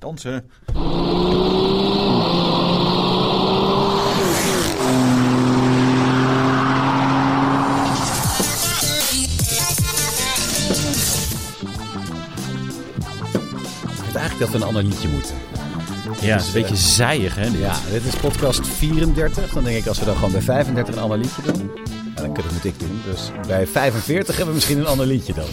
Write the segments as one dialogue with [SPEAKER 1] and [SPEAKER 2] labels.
[SPEAKER 1] Dansen.
[SPEAKER 2] vind eigenlijk dat we een ander liedje moeten.
[SPEAKER 1] Ja,
[SPEAKER 2] Het is een beetje zijig, hè? dit?
[SPEAKER 3] Ja, dit is podcast 34. Dan denk ik, als we dan gewoon bij 35 een ander liedje doen. Ja, dan kunnen we het ik doen. Dus bij 45 hebben we misschien een ander liedje dan.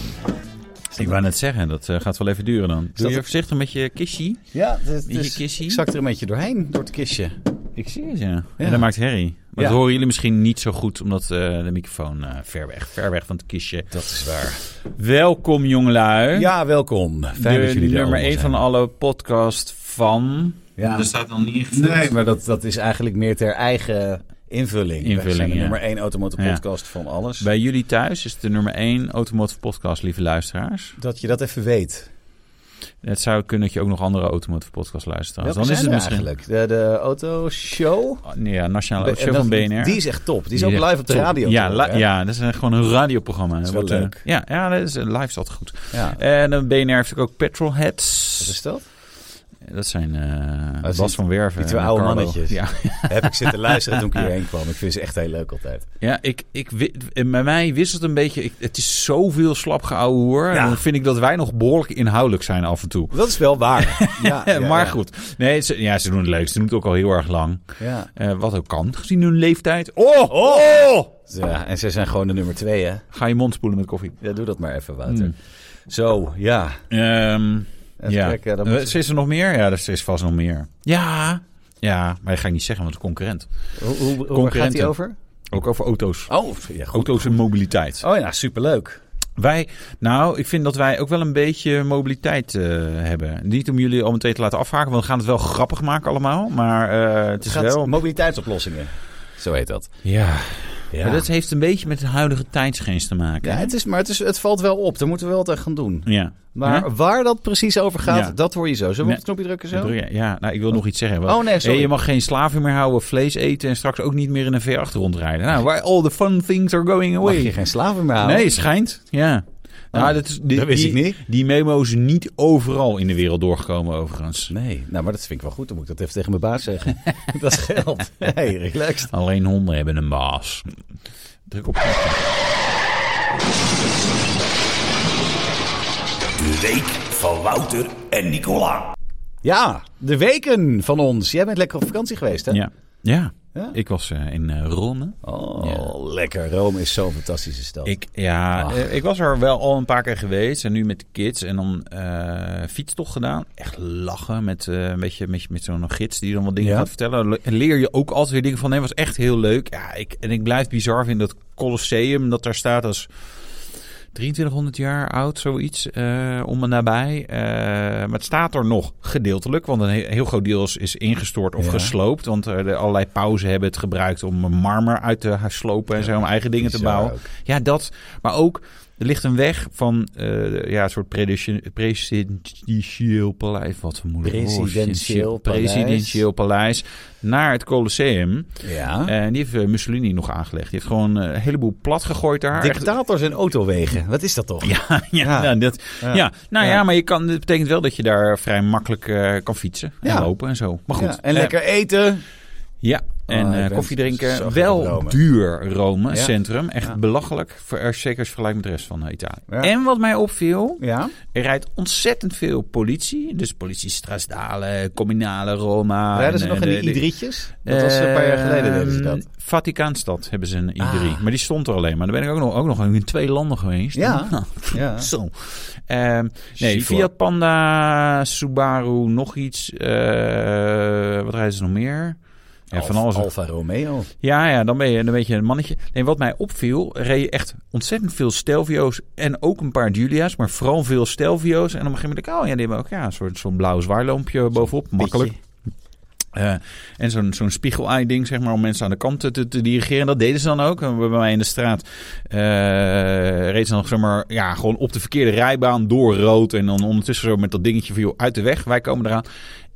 [SPEAKER 1] Ik wou net zeggen, dat eh, gaat wel even duren dan. Doe
[SPEAKER 3] dat-
[SPEAKER 1] je voorzichtig met je kissie.
[SPEAKER 3] Ja, dus,
[SPEAKER 1] Beetje kissie.
[SPEAKER 3] ik zak er een beetje doorheen door het kistje.
[SPEAKER 1] Ik zie het, ja.
[SPEAKER 3] Ja.
[SPEAKER 1] En dat maakt herrie. Maar
[SPEAKER 3] Ja.
[SPEAKER 1] dat horen jullie misschien niet zo goed, omdat eh, de microfoon eh, ver weg, ver weg van het kistje.
[SPEAKER 3] Dat is waar.
[SPEAKER 1] Welkom, jongelui.
[SPEAKER 3] Ja, welkom. Fijn
[SPEAKER 1] de
[SPEAKER 3] dat jullie er
[SPEAKER 1] nummer
[SPEAKER 3] allemaal
[SPEAKER 1] 1 van
[SPEAKER 3] zijn.
[SPEAKER 1] alle podcast van...
[SPEAKER 3] Ja.
[SPEAKER 1] Er staat dan niet ingevuld.
[SPEAKER 3] Nee, maar dat, dat is eigenlijk meer ter eigen invulling. Wij
[SPEAKER 1] Invulling,
[SPEAKER 3] zijn de
[SPEAKER 1] ja.
[SPEAKER 3] nummer 1 automotive
[SPEAKER 1] Ja.
[SPEAKER 3] podcast van alles.
[SPEAKER 1] Bij jullie thuis is het de nummer 1 Automotive Podcast, lieve luisteraars.
[SPEAKER 3] Dat je dat even weet.
[SPEAKER 1] Het zou kunnen dat je ook nog andere Automotive Podcast luistert.
[SPEAKER 3] Welke
[SPEAKER 1] dan is
[SPEAKER 3] zijn
[SPEAKER 1] het
[SPEAKER 3] er
[SPEAKER 1] misschien...
[SPEAKER 3] eigenlijk? De, de autoshow?
[SPEAKER 1] Oh, nee, Ja, Nationale
[SPEAKER 3] Be-
[SPEAKER 1] Show
[SPEAKER 3] dat-
[SPEAKER 1] van BNR.
[SPEAKER 3] Die is echt top. Die is
[SPEAKER 1] Die
[SPEAKER 3] ook
[SPEAKER 1] echt
[SPEAKER 3] live op de
[SPEAKER 1] top.
[SPEAKER 3] radio.
[SPEAKER 1] Ja,
[SPEAKER 3] te
[SPEAKER 1] la-
[SPEAKER 3] horen, hè?
[SPEAKER 1] ja, dat is een- gewoon een radioprogramma. Dat
[SPEAKER 3] is wel
[SPEAKER 1] eh,
[SPEAKER 3] leuk.
[SPEAKER 1] Ja, ja dat is, eh, live is altijd goed.
[SPEAKER 3] ja.
[SPEAKER 1] En eh, BNR heeft ook
[SPEAKER 3] Wat
[SPEAKER 1] Petrolheads.
[SPEAKER 3] is dat?
[SPEAKER 1] Dat zijn eh
[SPEAKER 3] dat
[SPEAKER 1] Bas
[SPEAKER 3] is-
[SPEAKER 1] van Werven.
[SPEAKER 3] die twee
[SPEAKER 1] en
[SPEAKER 3] oude
[SPEAKER 1] Carlo.
[SPEAKER 3] mannetjes.
[SPEAKER 1] Ja,
[SPEAKER 3] Heb ik zitten luisteren toen ik hierheen kwam. Ik vind ze echt heel leuk altijd.
[SPEAKER 1] ja ik, ik, wi- eh, bij mij wisselt een beetje... Ik, het is zoveel slapgeouwe hoor.
[SPEAKER 3] Ja.
[SPEAKER 1] En dan vind ik dat wij nog behoorlijk inhoudelijk zijn af en toe.
[SPEAKER 3] Dat is wel waar. Ja, ja,
[SPEAKER 1] maar
[SPEAKER 3] ja.
[SPEAKER 1] goed. Nee, ze, ja, ze doen het leuk. Ze doen het ook al heel erg lang.
[SPEAKER 3] Ja.
[SPEAKER 1] Eh, wat ook kan, gezien hun leeftijd. Oh!
[SPEAKER 3] Oh! Ja, en ze zijn gewoon de nummer twee, hè?
[SPEAKER 1] Ga je mond spoelen met koffie.
[SPEAKER 3] Ja, doe dat maar even, Wouter. Zo, ja.
[SPEAKER 1] Ehm,
[SPEAKER 3] Even
[SPEAKER 1] ja.
[SPEAKER 3] kijken, dan
[SPEAKER 1] Eh,
[SPEAKER 3] moet je-
[SPEAKER 1] Is er nog meer? Ja, er is vast nog meer. Ja. Ja, maar dat ga ik niet zeggen, want een concurrent.
[SPEAKER 3] Hoe, hoe, hoe waar gaat die
[SPEAKER 1] Concurrenten.
[SPEAKER 3] over?
[SPEAKER 1] Ook over auto's.
[SPEAKER 3] Oh, ja, goed.
[SPEAKER 1] Auto's en mobiliteit.
[SPEAKER 3] Oh ja, superleuk.
[SPEAKER 1] Wij, nou, ik vind dat wij ook wel een beetje mobiliteit eh, hebben. Niet om jullie al meteen te laten afhaken, want we gaan het wel grappig maken allemaal. Maar eh, het
[SPEAKER 3] Het
[SPEAKER 1] is
[SPEAKER 3] gaat
[SPEAKER 1] wel...
[SPEAKER 3] mobiliteitsoplossingen. Zo heet dat.
[SPEAKER 1] Ja.
[SPEAKER 3] Ja.
[SPEAKER 1] Maar dat heeft een beetje met de huidige tijdsgeest te maken.
[SPEAKER 3] ja, het is, maar het, is, het valt wel op. Daar moeten we wel wat aan gaan doen.
[SPEAKER 1] Ja.
[SPEAKER 3] Maar
[SPEAKER 1] Huh?
[SPEAKER 3] waar dat precies over gaat,
[SPEAKER 1] Ja.
[SPEAKER 3] dat hoor je zo. Zullen we
[SPEAKER 1] Nee.
[SPEAKER 3] op het knopje drukken
[SPEAKER 1] Ja,
[SPEAKER 3] zo?
[SPEAKER 1] druk- Ja, nou, ik wil nog iets zeggen.
[SPEAKER 3] Oh, nee, sorry.
[SPEAKER 1] Hey, je mag geen slaven meer houden, vlees eten en straks ook niet meer in een V8 rondrijden. Nou, where all the fun things are going
[SPEAKER 3] Mag
[SPEAKER 1] away.
[SPEAKER 3] je geen slaven meer houden?
[SPEAKER 1] Nee, schijnt. Ja.
[SPEAKER 3] Oh,
[SPEAKER 1] Nou, dat, is, die,
[SPEAKER 3] dat wist
[SPEAKER 1] die,
[SPEAKER 3] ik niet.
[SPEAKER 1] Die memo is niet overal in de wereld doorgekomen, overigens.
[SPEAKER 3] Nee, nou, maar dat vind ik wel goed. Dan moet ik dat even tegen mijn baas zeggen. dat scheelt. hey, relaxed.
[SPEAKER 1] Alleen honden hebben een baas. Druk op.
[SPEAKER 4] De week van Wouter en Nicola.
[SPEAKER 3] Ja, de weken van ons. Jij bent lekker op vakantie geweest, hè?
[SPEAKER 1] Ja. Ja.
[SPEAKER 3] Ja?
[SPEAKER 1] Ik was eh, in eh, Rome.
[SPEAKER 3] Oh,
[SPEAKER 1] Ja.
[SPEAKER 3] lekker. Rome is zo'n fantastische stad.
[SPEAKER 1] Ik, ja,
[SPEAKER 3] Ach.
[SPEAKER 1] eh, ik was er wel al een paar keer geweest. En nu met de kids. En dan eh, fietstocht gedaan. Echt lachen met, eh, een beetje, met, met zo'n gids die dan wat dingen
[SPEAKER 3] Ja.
[SPEAKER 1] gaat vertellen. Le- En leer je ook altijd weer dingen van. Nee, was echt heel leuk. Ja, ik, en ik blijf bizar vinden dat Colosseum dat daar staat als... 2300 jaar oud, zoiets, eh, om en nabij. Eh, maar het staat er nog gedeeltelijk, want een he- heel groot deel is, is ingestort of
[SPEAKER 3] Ja.
[SPEAKER 1] gesloopt. Want eh, de allerlei pauzen hebben het gebruikt om marmer uit te ha- slopen en zo, om eigen dingen te
[SPEAKER 3] bizar
[SPEAKER 1] bouwen.
[SPEAKER 3] ook.
[SPEAKER 1] Ja, dat. Maar ook, er ligt een weg van eh, ja, een soort predici- presidentieel paleis. Wat een moeilijk woord.
[SPEAKER 3] Presidentieel paleis.
[SPEAKER 1] Presidentieel paleis. Naar het Colosseum.
[SPEAKER 3] Ja.
[SPEAKER 1] En die heeft eh, Mussolini nog aangelegd. Die heeft gewoon eh, een heleboel plat gegooid daar. Echt-
[SPEAKER 3] Dictators en autowegen. Wat is dat toch?
[SPEAKER 1] ja, ja,
[SPEAKER 3] Ja.
[SPEAKER 1] nou, dat,
[SPEAKER 3] Ja.
[SPEAKER 1] ja. nou ja,
[SPEAKER 3] Ja.
[SPEAKER 1] maar je kan, dat betekent wel dat je daar vrij makkelijk eh, kan fietsen en
[SPEAKER 3] Ja.
[SPEAKER 1] lopen en zo. Maar goed.
[SPEAKER 3] Ja, en
[SPEAKER 1] eh,
[SPEAKER 3] lekker eten.
[SPEAKER 1] Ja, en
[SPEAKER 3] Ah, ik
[SPEAKER 1] eh,
[SPEAKER 3] ben
[SPEAKER 1] koffie
[SPEAKER 3] zo
[SPEAKER 1] drinken.
[SPEAKER 3] gek
[SPEAKER 1] Wel
[SPEAKER 3] op Rome.
[SPEAKER 1] duur Rome,
[SPEAKER 3] Ja.
[SPEAKER 1] centrum. Echt
[SPEAKER 3] Ja.
[SPEAKER 1] belachelijk, voor, eh, zeker als je vergelijkt met de rest van eh, Italië.
[SPEAKER 3] Ja.
[SPEAKER 1] En wat mij opviel,
[SPEAKER 3] Ja.
[SPEAKER 1] er rijdt ontzettend veel politie. Dus politie Strasdale, Cominale, Roma.
[SPEAKER 3] Rijden ze
[SPEAKER 1] en,
[SPEAKER 3] nog in
[SPEAKER 1] eh,
[SPEAKER 3] die
[SPEAKER 1] de-
[SPEAKER 3] i-drietjes? Dat was eh, een paar jaar geleden deden ze dat.
[SPEAKER 1] Ehm, Vaticaanstad hebben ze een I3.
[SPEAKER 3] Ah.
[SPEAKER 1] Maar die stond er alleen maar. Daar ben ik ook nog, ook nog in twee landen geweest.
[SPEAKER 3] Ja.
[SPEAKER 1] Nou,
[SPEAKER 3] Ja.
[SPEAKER 1] Zo. Ehm, nee,
[SPEAKER 3] Chic, hoor.
[SPEAKER 1] Fiat Panda, Subaru, nog iets. eh, wat rijden ze nog meer? Ja, van alles.
[SPEAKER 3] Alfa Romeo. Oh?
[SPEAKER 1] Ja, ja, dan ben je een beetje een mannetje. Nee, wat mij opviel, reed echt ontzettend veel Stelvio's en ook een paar Julia's, maar vooral veel Stelvio's. En op een gegeven moment, dacht ik, oh ja, die hebben ook ja, een soort zo'n blauw zwaarloompje bovenop, makkelijk. Eh, en zo'n zo'n spiegel-eye-ding, zeg maar, om mensen aan de kant te, te, te dirigeren. Dat deden ze dan ook. En Bij mij in de straat eh reed ze dan, zeg maar, ja, gewoon op de verkeerde rijbaan door rood. En dan ondertussen zo met dat dingetje van, joh, uit de weg, wij komen eraan.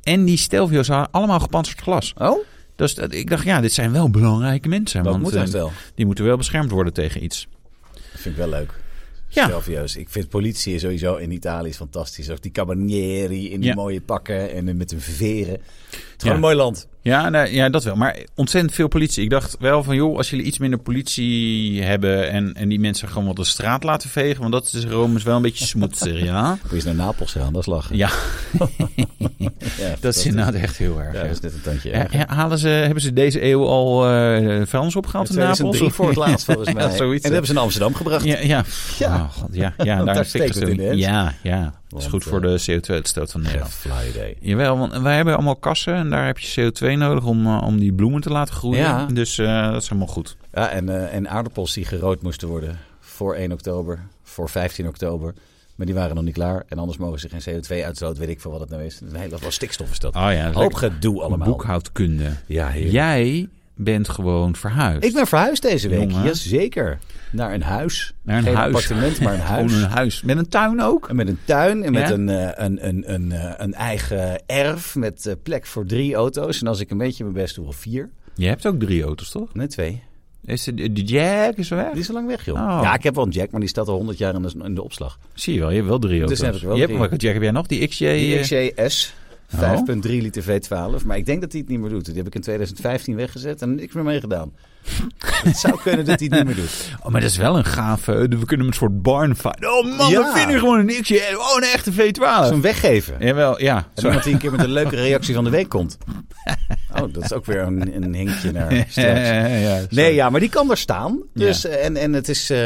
[SPEAKER 1] En die Stelvio's hadden allemaal gepantserd glas.
[SPEAKER 3] Oh,
[SPEAKER 1] Dus dat, ik dacht, ja, dit zijn wel belangrijke mensen.
[SPEAKER 3] dat
[SPEAKER 1] want,
[SPEAKER 3] moet
[SPEAKER 1] eh,
[SPEAKER 3] echt wel.
[SPEAKER 1] Die moeten wel beschermd worden tegen iets.
[SPEAKER 3] Dat vind ik wel leuk.
[SPEAKER 1] Ja.
[SPEAKER 3] Stelvio's. Ik vind politie sowieso in Italië is fantastisch. Ook die cabanieri in die
[SPEAKER 1] Ja.
[SPEAKER 3] mooie pakken en eh, met hun veren. Het is gewoon
[SPEAKER 1] Ja.
[SPEAKER 3] een mooi land.
[SPEAKER 1] Ja, nou, ja, dat wel. Maar ontzettend veel politie. Ik dacht wel van, joh, als jullie iets minder politie hebben... en, en die mensen gewoon wat de straat laten vegen... want dat is Rome is wel een beetje smoetser, ja?
[SPEAKER 3] Moet je eens naar Napels gaan, dat is lachen.
[SPEAKER 1] Ja,
[SPEAKER 3] Ja,
[SPEAKER 1] dat is inderdaad echt heel erg.
[SPEAKER 3] ja,
[SPEAKER 1] ja.
[SPEAKER 3] dat is net een tandje
[SPEAKER 1] Ja,
[SPEAKER 3] erger.
[SPEAKER 1] ja, halen ze, hebben ze deze eeuw al eh vuilnis opgehaald in Napels?
[SPEAKER 3] 2003 voor het laatst volgens
[SPEAKER 1] Ja,
[SPEAKER 3] mij. en
[SPEAKER 1] zoiets.
[SPEAKER 3] dat hebben ze naar Amsterdam gebracht.
[SPEAKER 1] Ja, ja.
[SPEAKER 3] Ja.
[SPEAKER 1] Oh, God, ja, ja
[SPEAKER 3] Daar
[SPEAKER 1] daar
[SPEAKER 3] steekt
[SPEAKER 1] steekt
[SPEAKER 3] het in, hè?
[SPEAKER 1] Ja, ja. Dat is
[SPEAKER 3] Want,
[SPEAKER 1] goed voor
[SPEAKER 3] eh,
[SPEAKER 1] de CO2-uitstoot van
[SPEAKER 3] Ja,
[SPEAKER 1] Nederland.
[SPEAKER 3] fly idee.
[SPEAKER 1] Jawel, want wij hebben allemaal kassen en daar heb je CO2 nodig om, eh, om die bloemen te laten groeien.
[SPEAKER 3] Ja.
[SPEAKER 1] Dus eh, dat is helemaal goed.
[SPEAKER 3] Ja, en, eh, en aardappels die gerood moesten worden voor 1 oktober, voor 15 oktober. Maar die waren nog niet klaar. En anders mogen ze geen CO2-uitstoot, weet ik veel wat het nou is. Een hele hoop stikstof is dat.
[SPEAKER 1] Oh ja,
[SPEAKER 3] Een
[SPEAKER 1] dat
[SPEAKER 3] hoop gedoe allemaal.
[SPEAKER 1] boekhoudkunde.
[SPEAKER 3] Ja, heerlijk.
[SPEAKER 1] Jij bent gewoon verhuisd.
[SPEAKER 3] Ik ben verhuisd deze week,
[SPEAKER 1] Jongen.
[SPEAKER 3] jazeker. Naar een huis.
[SPEAKER 1] Naar een
[SPEAKER 3] geen
[SPEAKER 1] huis.
[SPEAKER 3] appartement, maar een
[SPEAKER 1] Gewoon
[SPEAKER 3] huis.
[SPEAKER 1] een huis. Met een tuin ook?
[SPEAKER 3] En met een tuin en met
[SPEAKER 1] Ja?
[SPEAKER 3] een, eh, een, een, een, eh, een eigen erf met eh, plek voor drie auto's. En als ik een beetje mijn best doe, wel vier.
[SPEAKER 1] Je hebt ook drie auto's, toch?
[SPEAKER 3] Nee, twee.
[SPEAKER 1] Is de, de jack is weg?
[SPEAKER 3] Die is al lang weg, joh.
[SPEAKER 1] Oh.
[SPEAKER 3] Ja, ik heb wel een jack, maar die staat al honderd jaar in de, in de opslag.
[SPEAKER 1] Zie je wel, je hebt wel drie auto's.
[SPEAKER 3] heb ik wel
[SPEAKER 1] je hebt,
[SPEAKER 3] drie.
[SPEAKER 1] welke jack heb jij nog? Die XJ?
[SPEAKER 3] Die
[SPEAKER 1] eh,
[SPEAKER 3] XJS.
[SPEAKER 1] Oh.
[SPEAKER 3] 5.3 liter V12. Maar ik denk dat hij het niet meer doet. Die heb ik in 2015 weggezet en niks meer mee gedaan. het zou kunnen dat hij het niet meer doet.
[SPEAKER 1] Oh, maar dat is wel een gave. eh, We kunnen hem een soort barn fight. Oh man,
[SPEAKER 3] Ja.
[SPEAKER 1] we vinden gewoon een XJ. Oh, een echte V12.
[SPEAKER 3] Zo'n weggeven. En
[SPEAKER 1] Jawel, ja. Zo.
[SPEAKER 3] iemand die een keer met een leuke reactie van de week komt. Oh, dat is ook weer een, een hinkje naar straks.
[SPEAKER 1] ja,
[SPEAKER 3] Nee, ja, maar die kan er staan.
[SPEAKER 1] Ja.
[SPEAKER 3] Dus, eh, en, en het is. eh,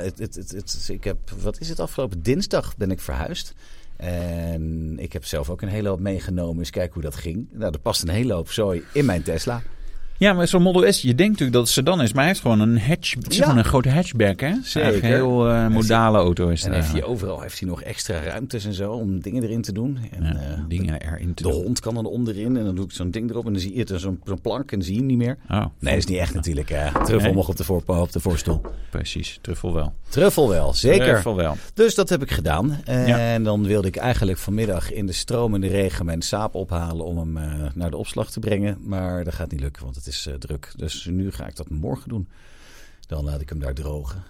[SPEAKER 3] het, het, het, het- ik heb, wat is het? Afgelopen dinsdag ben ik verhuisd. En ik heb zelf ook een hele hoop meegenomen. Eens kijken hoe dat ging. Nou, er past een hele hoop zooi in mijn Tesla.
[SPEAKER 1] Ja, maar zo'n Model S, je denkt natuurlijk dat het sedan is, maar hij heeft gewoon een hatch, het is
[SPEAKER 3] Ja.
[SPEAKER 1] gewoon een grote hatchback, hè? Het is
[SPEAKER 3] Zeker.
[SPEAKER 1] eigenlijk Een heel eh, modale auto is
[SPEAKER 3] En
[SPEAKER 1] het.
[SPEAKER 3] heeft hij
[SPEAKER 1] eigenlijk.
[SPEAKER 3] overal heeft hij nog extra ruimtes en zo om dingen erin te doen. En,
[SPEAKER 1] Ja,
[SPEAKER 3] eh,
[SPEAKER 1] dingen erin te
[SPEAKER 3] de
[SPEAKER 1] doen.
[SPEAKER 3] hond kan dan onderin en dan doe ik zo'n ding erop en dan zie je het, zo'n zo'n plank en dan zie je hem niet meer.
[SPEAKER 1] Oh,
[SPEAKER 3] Nee, dat is niet echt natuurlijk. hè. Truffel
[SPEAKER 1] Nee.
[SPEAKER 3] mocht op de, voorpa op de voorstoel.
[SPEAKER 1] precies. Truffel wel.
[SPEAKER 3] Truffel wel, zeker.
[SPEAKER 1] Truffel wel.
[SPEAKER 3] Dus dat heb ik gedaan. En
[SPEAKER 1] Ja.
[SPEAKER 3] dan wilde ik eigenlijk vanmiddag in de stromende regen mijn saap ophalen om hem eh, naar de opslag te brengen. Maar dat gaat niet lukken, want het is eh, druk. Dus nu ga ik dat morgen doen. Dan laat ik hem daar drogen.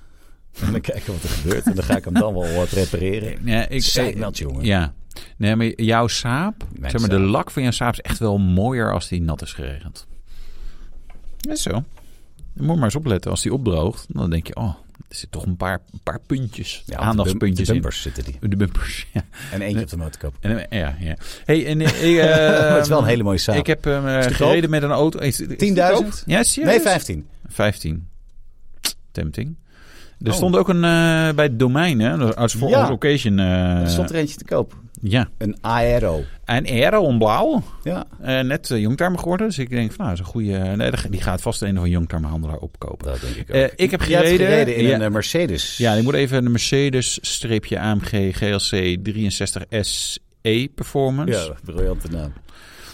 [SPEAKER 3] En dan kijken wat er gebeurt. En dan ga ik hem dan wel wat repareren.
[SPEAKER 1] Ja, ik,
[SPEAKER 3] Zeiknat, jongen.
[SPEAKER 1] Ja. Nee, maar jouw saap,
[SPEAKER 3] Mijn
[SPEAKER 1] zeg maar, de
[SPEAKER 3] saap.
[SPEAKER 1] lak van jouw saap is echt wel mooier als die nat is geregend. Dat is zo. Je moet maar eens opletten. Als die opdroogt, dan denk je, oh, er zitten toch een paar, een paar puntjes,
[SPEAKER 3] Ja, want de bum-
[SPEAKER 1] aandachtspuntjes
[SPEAKER 3] De bumpers zitten die.
[SPEAKER 1] in. De bumpers, ja.
[SPEAKER 3] En eentje op de motorkap.
[SPEAKER 1] En, eh, ja, ja. Hey, en, eh, ik, eh,
[SPEAKER 3] Maar het is wel een hele mooie saap.
[SPEAKER 1] Ik heb hem eh,
[SPEAKER 3] die
[SPEAKER 1] gereden met een auto. Is- is die
[SPEAKER 3] 10.000?
[SPEAKER 1] koop? Ja, serieus?
[SPEAKER 3] nee, 15.
[SPEAKER 1] 15. Tempting. Er
[SPEAKER 3] Oh.
[SPEAKER 1] stond ook een eh, bij het domein, hè? Dat is Als voor
[SPEAKER 3] Ja.
[SPEAKER 1] onze occasion. eh,
[SPEAKER 3] Er stond er eentje te koop.
[SPEAKER 1] Ja.
[SPEAKER 3] Een Aero.
[SPEAKER 1] En Aero in blauw.
[SPEAKER 3] Ja,
[SPEAKER 1] Eh, net eh, jongterm geworden. Dus ik denk, van, nou, dat is een goede. nee, dat- die gaat vast een of een jongtermhandelaar opkopen.
[SPEAKER 3] dat denk ik ook.
[SPEAKER 1] Eh, ik heb
[SPEAKER 3] Jij hebt
[SPEAKER 1] gereden.
[SPEAKER 3] gereden in
[SPEAKER 1] ja,
[SPEAKER 3] een eh, Mercedes.
[SPEAKER 1] ja, ik moet even een Mercedes-AMG GLC 63 SE E Performance.
[SPEAKER 3] Ja, briljante naam.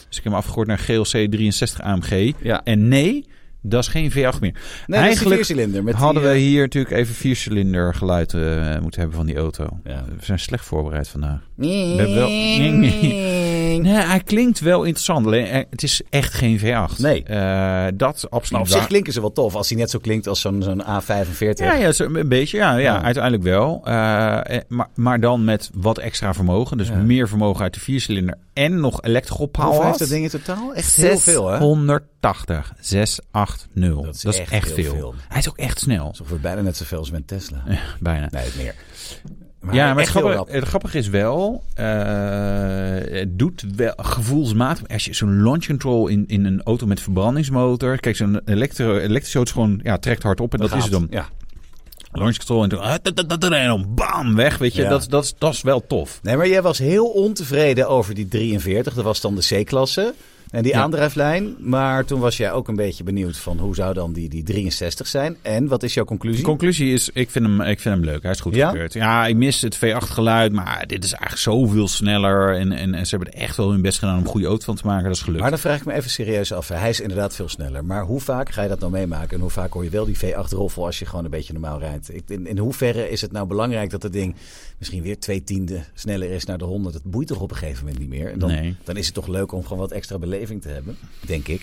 [SPEAKER 1] Dus ik heb hem afgegooid naar GLC 63 AMG.
[SPEAKER 3] Ja.
[SPEAKER 1] En nee, dat is geen V8 meer.
[SPEAKER 3] Nee,
[SPEAKER 1] Eigenlijk
[SPEAKER 3] Eigenlijk viercilinder. Met
[SPEAKER 1] Hadden
[SPEAKER 3] die,
[SPEAKER 1] we
[SPEAKER 3] eh,
[SPEAKER 1] hier natuurlijk even viercilinder geluid eh, moeten hebben van die auto.
[SPEAKER 3] Ja.
[SPEAKER 1] We zijn slecht voorbereid vandaag.
[SPEAKER 3] We
[SPEAKER 1] hebben wel- Nee, hij klinkt wel interessant. Alleen eh, het is echt geen V8.
[SPEAKER 3] Nee.
[SPEAKER 1] Eh, dat absoluut
[SPEAKER 3] Maar op zich
[SPEAKER 1] waar.
[SPEAKER 3] klinken ze wel tof als hij net zo klinkt als zo'n zo'n A45.
[SPEAKER 1] Ja, ja, zo een beetje. Ja, ja,
[SPEAKER 3] Ja.
[SPEAKER 1] uiteindelijk wel. Eh, eh, maar, maar dan met wat extra vermogen. Dus
[SPEAKER 3] Ja.
[SPEAKER 1] meer vermogen uit de viercilinder. En nog elektropower.
[SPEAKER 3] Hoeveel heeft dat ding in totaal? Echt heel veel, hè?
[SPEAKER 1] 180. 680. Dat is, echt,
[SPEAKER 3] heel
[SPEAKER 1] veel.
[SPEAKER 3] veel.
[SPEAKER 1] Hij is ook echt snel.
[SPEAKER 3] Zo voor bijna net zoveel als mijn Tesla.
[SPEAKER 1] Bijna.
[SPEAKER 3] Nee, het
[SPEAKER 1] ja,
[SPEAKER 3] meer.
[SPEAKER 1] maar het
[SPEAKER 3] echt heel
[SPEAKER 1] grappige,
[SPEAKER 3] rap.
[SPEAKER 1] het grappige is wel, eh, het doet wel gevoelsmatig. Als je zo'n launch control in, in een auto met verbrandingsmotor. Kijk, zo'n elektro, elektrische auto is gewoon, ja, trekt hard op en dat,
[SPEAKER 3] Gaat.
[SPEAKER 1] is het dan.
[SPEAKER 3] Ja.
[SPEAKER 1] Launch control en toen, ah, dat- dat- dat- dat- en dan bam, weg. Weet je,
[SPEAKER 3] Ja.
[SPEAKER 1] dat, dat, is- dat is wel tof.
[SPEAKER 3] Nee, maar jij was heel ontevreden over die 43. Dat was dan de C-klasse. En die
[SPEAKER 1] Ja.
[SPEAKER 3] aandrijflijn. Maar toen was jij ook een beetje benieuwd van hoe zou dan die, die 63 zijn? En wat is jouw
[SPEAKER 1] De
[SPEAKER 3] conclusie?
[SPEAKER 1] conclusie is, ik vind hem, ik vind hem leuk. Hij is goed
[SPEAKER 3] Ja?
[SPEAKER 1] gekeurd. Ja, ik mis het V8 geluid, maar dit is eigenlijk zoveel sneller. En, en, en ze hebben er echt wel hun best gedaan om een goede auto van te maken. Dat is gelukt.
[SPEAKER 3] maar dan vraag ik me even serieus af. hè. Hij is inderdaad veel sneller. Maar hoe vaak ga je dat nou meemaken? En hoe vaak hoor je wel die V8-roffel als je gewoon een beetje normaal rijdt? Ik, in, in hoeverre is het nou belangrijk dat het ding misschien weer twee tienden sneller is naar de 100? Dat boeit toch op een gegeven moment niet meer? En dan,
[SPEAKER 1] Nee.
[SPEAKER 3] dan is het toch leuk om gewoon wat extra beleving te hebben, denk ik.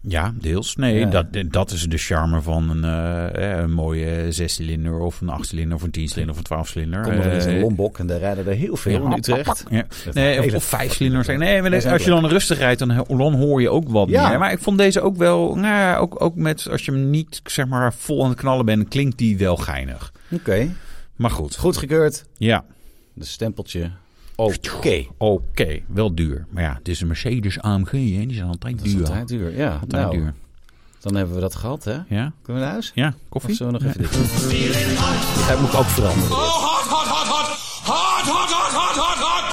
[SPEAKER 1] Ja, deels. Nee,
[SPEAKER 3] Ja.
[SPEAKER 1] dat, dat is de charme van een, eh, eh, een mooie zescilinder of een achtcilinder of een tiencilinder of een twaalfcilinder.
[SPEAKER 3] Kom er eens
[SPEAKER 1] Eh,
[SPEAKER 3] een Lombok en daar rijden er heel veel in Utrecht.
[SPEAKER 1] Ja. Nee, of, of vijf cilinders. Nee, maar
[SPEAKER 3] Dat is
[SPEAKER 1] als je dan rustig rijdt, dan, dan hoor je ook wat
[SPEAKER 3] Ja.
[SPEAKER 1] meer. Maar ik vond deze ook wel, nou, ja, ook, ook met, als je hem niet zeg maar vol aan het knallen bent, klinkt die wel geinig.
[SPEAKER 3] Oké,
[SPEAKER 1] Maar goed,
[SPEAKER 3] goedgekeurd.
[SPEAKER 1] ja,
[SPEAKER 3] De stempeltje. Oh, Oké.
[SPEAKER 1] oké, wel duur. Maar ja, het is een Mercedes AMG, hè? die zijn altijd
[SPEAKER 3] Dat is
[SPEAKER 1] duur.
[SPEAKER 3] altijd duur. Ja,
[SPEAKER 1] Altijd
[SPEAKER 3] nou,
[SPEAKER 1] duur.
[SPEAKER 3] dan hebben we dat gehad, hè?
[SPEAKER 1] Ja,
[SPEAKER 3] Kunnen we naar huis?
[SPEAKER 1] ja,
[SPEAKER 3] Of
[SPEAKER 1] koffie?
[SPEAKER 3] zullen we nog even dit doen? Dat moet ik ook veranderen.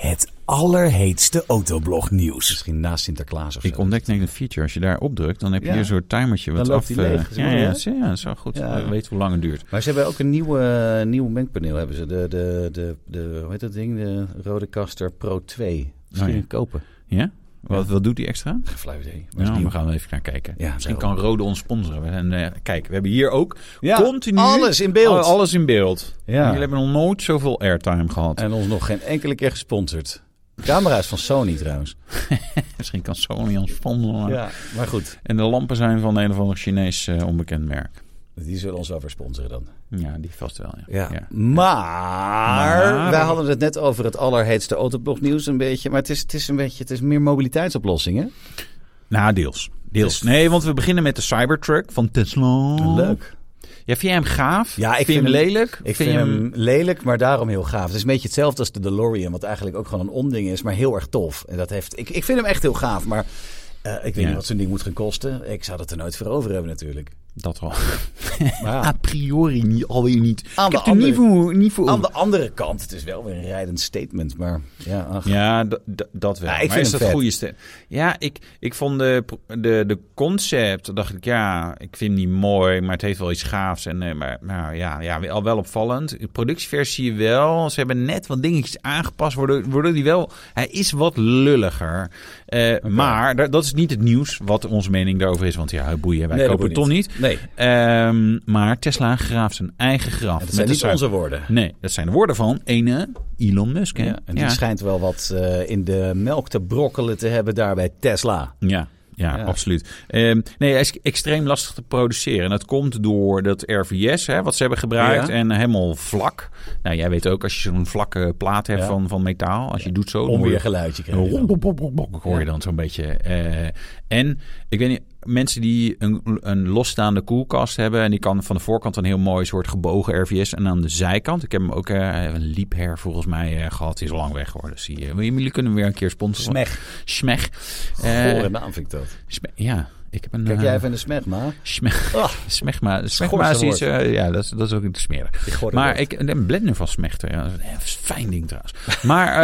[SPEAKER 4] Het allerheetste autoblognieuws.
[SPEAKER 3] Misschien na Sinterklaas of zo.
[SPEAKER 1] Ik ontdekte net een feature. Als je daar op drukt, dan heb je
[SPEAKER 3] Ja.
[SPEAKER 1] hier zo'n timertje. Wat
[SPEAKER 3] Dan loopt
[SPEAKER 1] af,
[SPEAKER 3] die
[SPEAKER 1] eh,
[SPEAKER 3] leeg. Dat is
[SPEAKER 1] ja,
[SPEAKER 3] mooi,
[SPEAKER 1] ja,
[SPEAKER 3] hè?
[SPEAKER 1] dat is- ja, dat is wel goed.
[SPEAKER 3] Ja.
[SPEAKER 1] We weten hoe lang het duurt.
[SPEAKER 3] Maar ze hebben ook een nieuwe, eh, nieuw mengpaneel hebben ze. De, de, de, de, hoe heet dat ding? De Rode Caster Pro 2. Misschien
[SPEAKER 1] Oh ja.
[SPEAKER 3] kopen.
[SPEAKER 1] Ja? Wat, wat doet die extra?
[SPEAKER 3] Geen flauw idee. Maar is
[SPEAKER 1] Nou, we
[SPEAKER 3] nieuw.
[SPEAKER 1] gaan er even naar kijken.
[SPEAKER 3] Ja,
[SPEAKER 1] Misschien
[SPEAKER 3] daarom.
[SPEAKER 1] kan Rode ons sponsoren. En eh, kijk, we hebben hier ook
[SPEAKER 3] Ja,
[SPEAKER 1] continu...
[SPEAKER 3] alles in beeld.
[SPEAKER 1] Al- Alles in beeld.
[SPEAKER 3] Ja.
[SPEAKER 1] Jullie hebben nog nooit zoveel airtime gehad.
[SPEAKER 3] En ons nog geen enkele keer gesponsord. Camera's van Sony trouwens.
[SPEAKER 1] Misschien kan Sony ons sponsoren.
[SPEAKER 3] Ja, maar goed.
[SPEAKER 1] En de lampen zijn van een of ander Chinees eh, onbekend merk.
[SPEAKER 3] Die zullen ons wel weer sponsoren dan.
[SPEAKER 1] Ja, die vast wel. Ja. Ja.
[SPEAKER 3] Maar,
[SPEAKER 1] Maar-
[SPEAKER 3] wij hadden het net over het allerheetste autoblognieuws een beetje. Maar het is, het is een beetje, het is meer mobiliteitsoplossingen.
[SPEAKER 1] Nou, deels. Deels. Nee, want we beginnen met de Cybertruck van Tesla.
[SPEAKER 3] Leuk.
[SPEAKER 1] Ja, vind jij hem gaaf?
[SPEAKER 3] Ja, ik
[SPEAKER 1] vind je
[SPEAKER 3] vind
[SPEAKER 1] hem
[SPEAKER 3] hem-
[SPEAKER 1] lelijk.
[SPEAKER 3] Ik vind, hem... lelijk, maar daarom heel gaaf. Het is een beetje hetzelfde als de DeLorean, wat eigenlijk ook gewoon een onding is, maar heel erg tof. En dat heeft, ik, ik vind hem echt heel gaaf, maar eh, ik weet
[SPEAKER 1] Ja.
[SPEAKER 3] niet wat zo'n ding moet gaan kosten. Ik zou dat er nooit voor over hebben natuurlijk.
[SPEAKER 1] Dat wel.
[SPEAKER 3] Maar ja,
[SPEAKER 1] A priori niet, alweer niet.
[SPEAKER 3] Aan
[SPEAKER 1] ik
[SPEAKER 3] de
[SPEAKER 1] heb er niet voor. Niet voor
[SPEAKER 3] aan de andere kant, het is wel weer een rijdend statement, maar ja, ach.
[SPEAKER 1] Ja, d- d- dat wel.
[SPEAKER 3] Ja, ik
[SPEAKER 1] maar
[SPEAKER 3] vind
[SPEAKER 1] is
[SPEAKER 3] hem
[SPEAKER 1] dat
[SPEAKER 3] vet.
[SPEAKER 1] goede stem? Ja, ik, ik vond de, pro- de, de concept, dacht ik, ja, ik vind die mooi, maar het heeft wel iets gaafs. En, eh, maar nou, ja, ja, al wel opvallend. De productieversie wel. Ze hebben net wat dingetjes aangepast, waardoor, waardoor die wel... Hij is wat lulliger. Eh, Maar da- dat is niet het nieuws wat onze mening daarover is. Want ja, boeien, wij
[SPEAKER 3] Nee, dat
[SPEAKER 1] kopen het
[SPEAKER 3] boeit
[SPEAKER 1] toch niet.
[SPEAKER 3] Nee,
[SPEAKER 1] Ehm, maar Tesla graaft zijn eigen graf.
[SPEAKER 3] dat
[SPEAKER 1] Met
[SPEAKER 3] zijn
[SPEAKER 1] de
[SPEAKER 3] niet
[SPEAKER 1] zuip-
[SPEAKER 3] onze woorden.
[SPEAKER 1] Nee, dat zijn de woorden van ene Elon Musk. Hè?
[SPEAKER 3] Ja, en die schijnt wel wat eh, in de melk te brokkelen te hebben daar bij Tesla.
[SPEAKER 1] Ja, ja,
[SPEAKER 3] Ja.
[SPEAKER 1] absoluut. Ehm, nee, hij is extreem lastig te produceren. En dat komt door dat RVS, hè, wat ze hebben gebruikt.
[SPEAKER 3] Ja.
[SPEAKER 1] En helemaal vlak. Nou, jij weet ook, als je zo'n vlakke plaat hebt
[SPEAKER 3] Ja.
[SPEAKER 1] van, van metaal. Als je doet zo... dan hoor je-
[SPEAKER 3] Onweergeluidje krijgen.
[SPEAKER 1] Ronk, bonk, bonk, bonk, bonk, hoor je dan zo'n beetje. eh. en ik weet niet, mensen die een, een losstaande koelkast hebben... en die kan van de voorkant een heel mooi soort gebogen RVS... en aan de zijkant, ik heb hem ook eh, een liepher volgens mij eh, gehad... die is al lang weg geworden. Dus die, eh, jullie kunnen hem weer een keer sponsoren.
[SPEAKER 3] Smeg.
[SPEAKER 1] Smeg. Eh,
[SPEAKER 3] Gore naam vind ik dat.
[SPEAKER 1] Sme- ja, ik heb een...
[SPEAKER 3] Kijk
[SPEAKER 1] eh,
[SPEAKER 3] jij even in de smeg, maar...
[SPEAKER 1] Sme-
[SPEAKER 3] Ah.
[SPEAKER 1] smegma. Smegma
[SPEAKER 3] Schorste
[SPEAKER 1] is iets...
[SPEAKER 3] woord.
[SPEAKER 1] eh, ja, dat is, dat is ook iets smerig.
[SPEAKER 3] Ik hoor
[SPEAKER 1] Maar
[SPEAKER 3] het.
[SPEAKER 1] ik een blender van smechten. Ja, dat is een heel fijn ding trouwens. Maar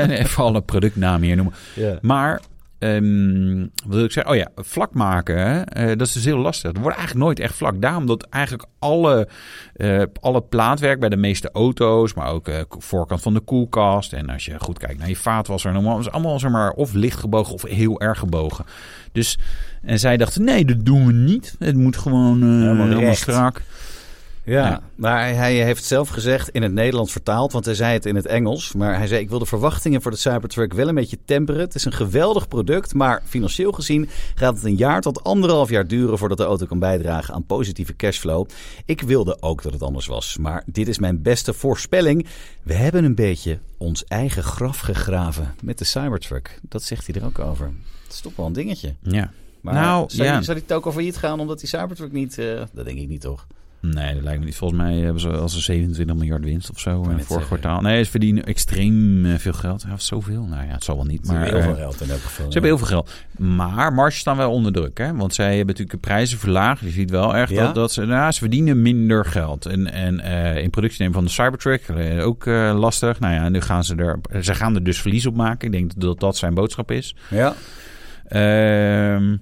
[SPEAKER 1] eh, nee, even alle productnamen hier noemen.
[SPEAKER 3] Ja.
[SPEAKER 1] Maar ehm, wat wil ik zeggen? Oh ja, vlak maken. hè, eh, dat is dus heel lastig. Het wordt eigenlijk nooit echt vlak. Daarom dat eigenlijk alle, eh, alle plaatwerk bij de meeste auto's, maar ook eh, voorkant van de koelkast. En als je goed kijkt naar je vaatwasser, en allemaal, is allemaal zeg maar, of licht gebogen of heel erg gebogen. Dus en zij dachten, nee, dat doen we niet. Het moet gewoon eh,
[SPEAKER 3] Helemaal
[SPEAKER 1] helemaal,
[SPEAKER 3] recht.
[SPEAKER 1] strak.
[SPEAKER 3] Ja,
[SPEAKER 1] Ja.
[SPEAKER 3] maar hij heeft zelf gezegd in het Nederlands vertaald, want hij zei het in het Engels. Maar hij zei: Ik wil de verwachtingen voor de Cybertruck wel een beetje temperen. Het is een geweldig product, maar financieel gezien gaat het een jaar tot anderhalf jaar duren voordat de auto kan bijdragen aan positieve cashflow. Ik wilde ook dat het anders was, maar dit is mijn beste voorspelling. We hebben een beetje ons eigen graf gegraven met de Cybertruck. Dat zegt hij er ook over. Dat is toch wel een dingetje.
[SPEAKER 1] Ja.
[SPEAKER 3] Maar
[SPEAKER 1] Nou,
[SPEAKER 3] zou,
[SPEAKER 1] ja.
[SPEAKER 3] die, zou die toko failliet gaan omdat die Cybertruck niet... eh, dat denk ik niet, toch?
[SPEAKER 1] Nee, dat lijkt me niet. Volgens mij hebben ze als een 27 miljard winst of zo in
[SPEAKER 3] net
[SPEAKER 1] het vorig
[SPEAKER 3] zeggen.
[SPEAKER 1] kwartaal. Nee, ze verdienen extreem eh, veel geld. Ja, of zoveel. Nou ja, het zal wel niet.
[SPEAKER 3] Maar
[SPEAKER 1] Maar
[SPEAKER 3] heel veel
[SPEAKER 1] eh,
[SPEAKER 3] geld in elk geval.
[SPEAKER 1] Ze hebben heel veel geld. Maar marges staan wel onder druk. Hè? Want zij hebben natuurlijk de prijzen verlaagd. Je ziet wel echt
[SPEAKER 3] Ja?
[SPEAKER 1] dat, dat ze, nou, ze verdienen minder geld. En, en eh, in productie nemen van de Cybertruck eh, ook eh, lastig. Nou ja, nu gaan ze er, ze gaan er dus verlies op maken. Ik denk dat dat zijn boodschap is.
[SPEAKER 3] Ja.
[SPEAKER 1] Ehm,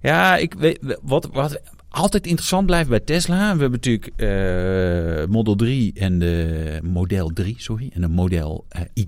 [SPEAKER 1] ja, ik weet wat, wat altijd interessant blijft bij Tesla. We hebben natuurlijk eh, Model 3 en de Model 3, sorry, en de Model eh, Y.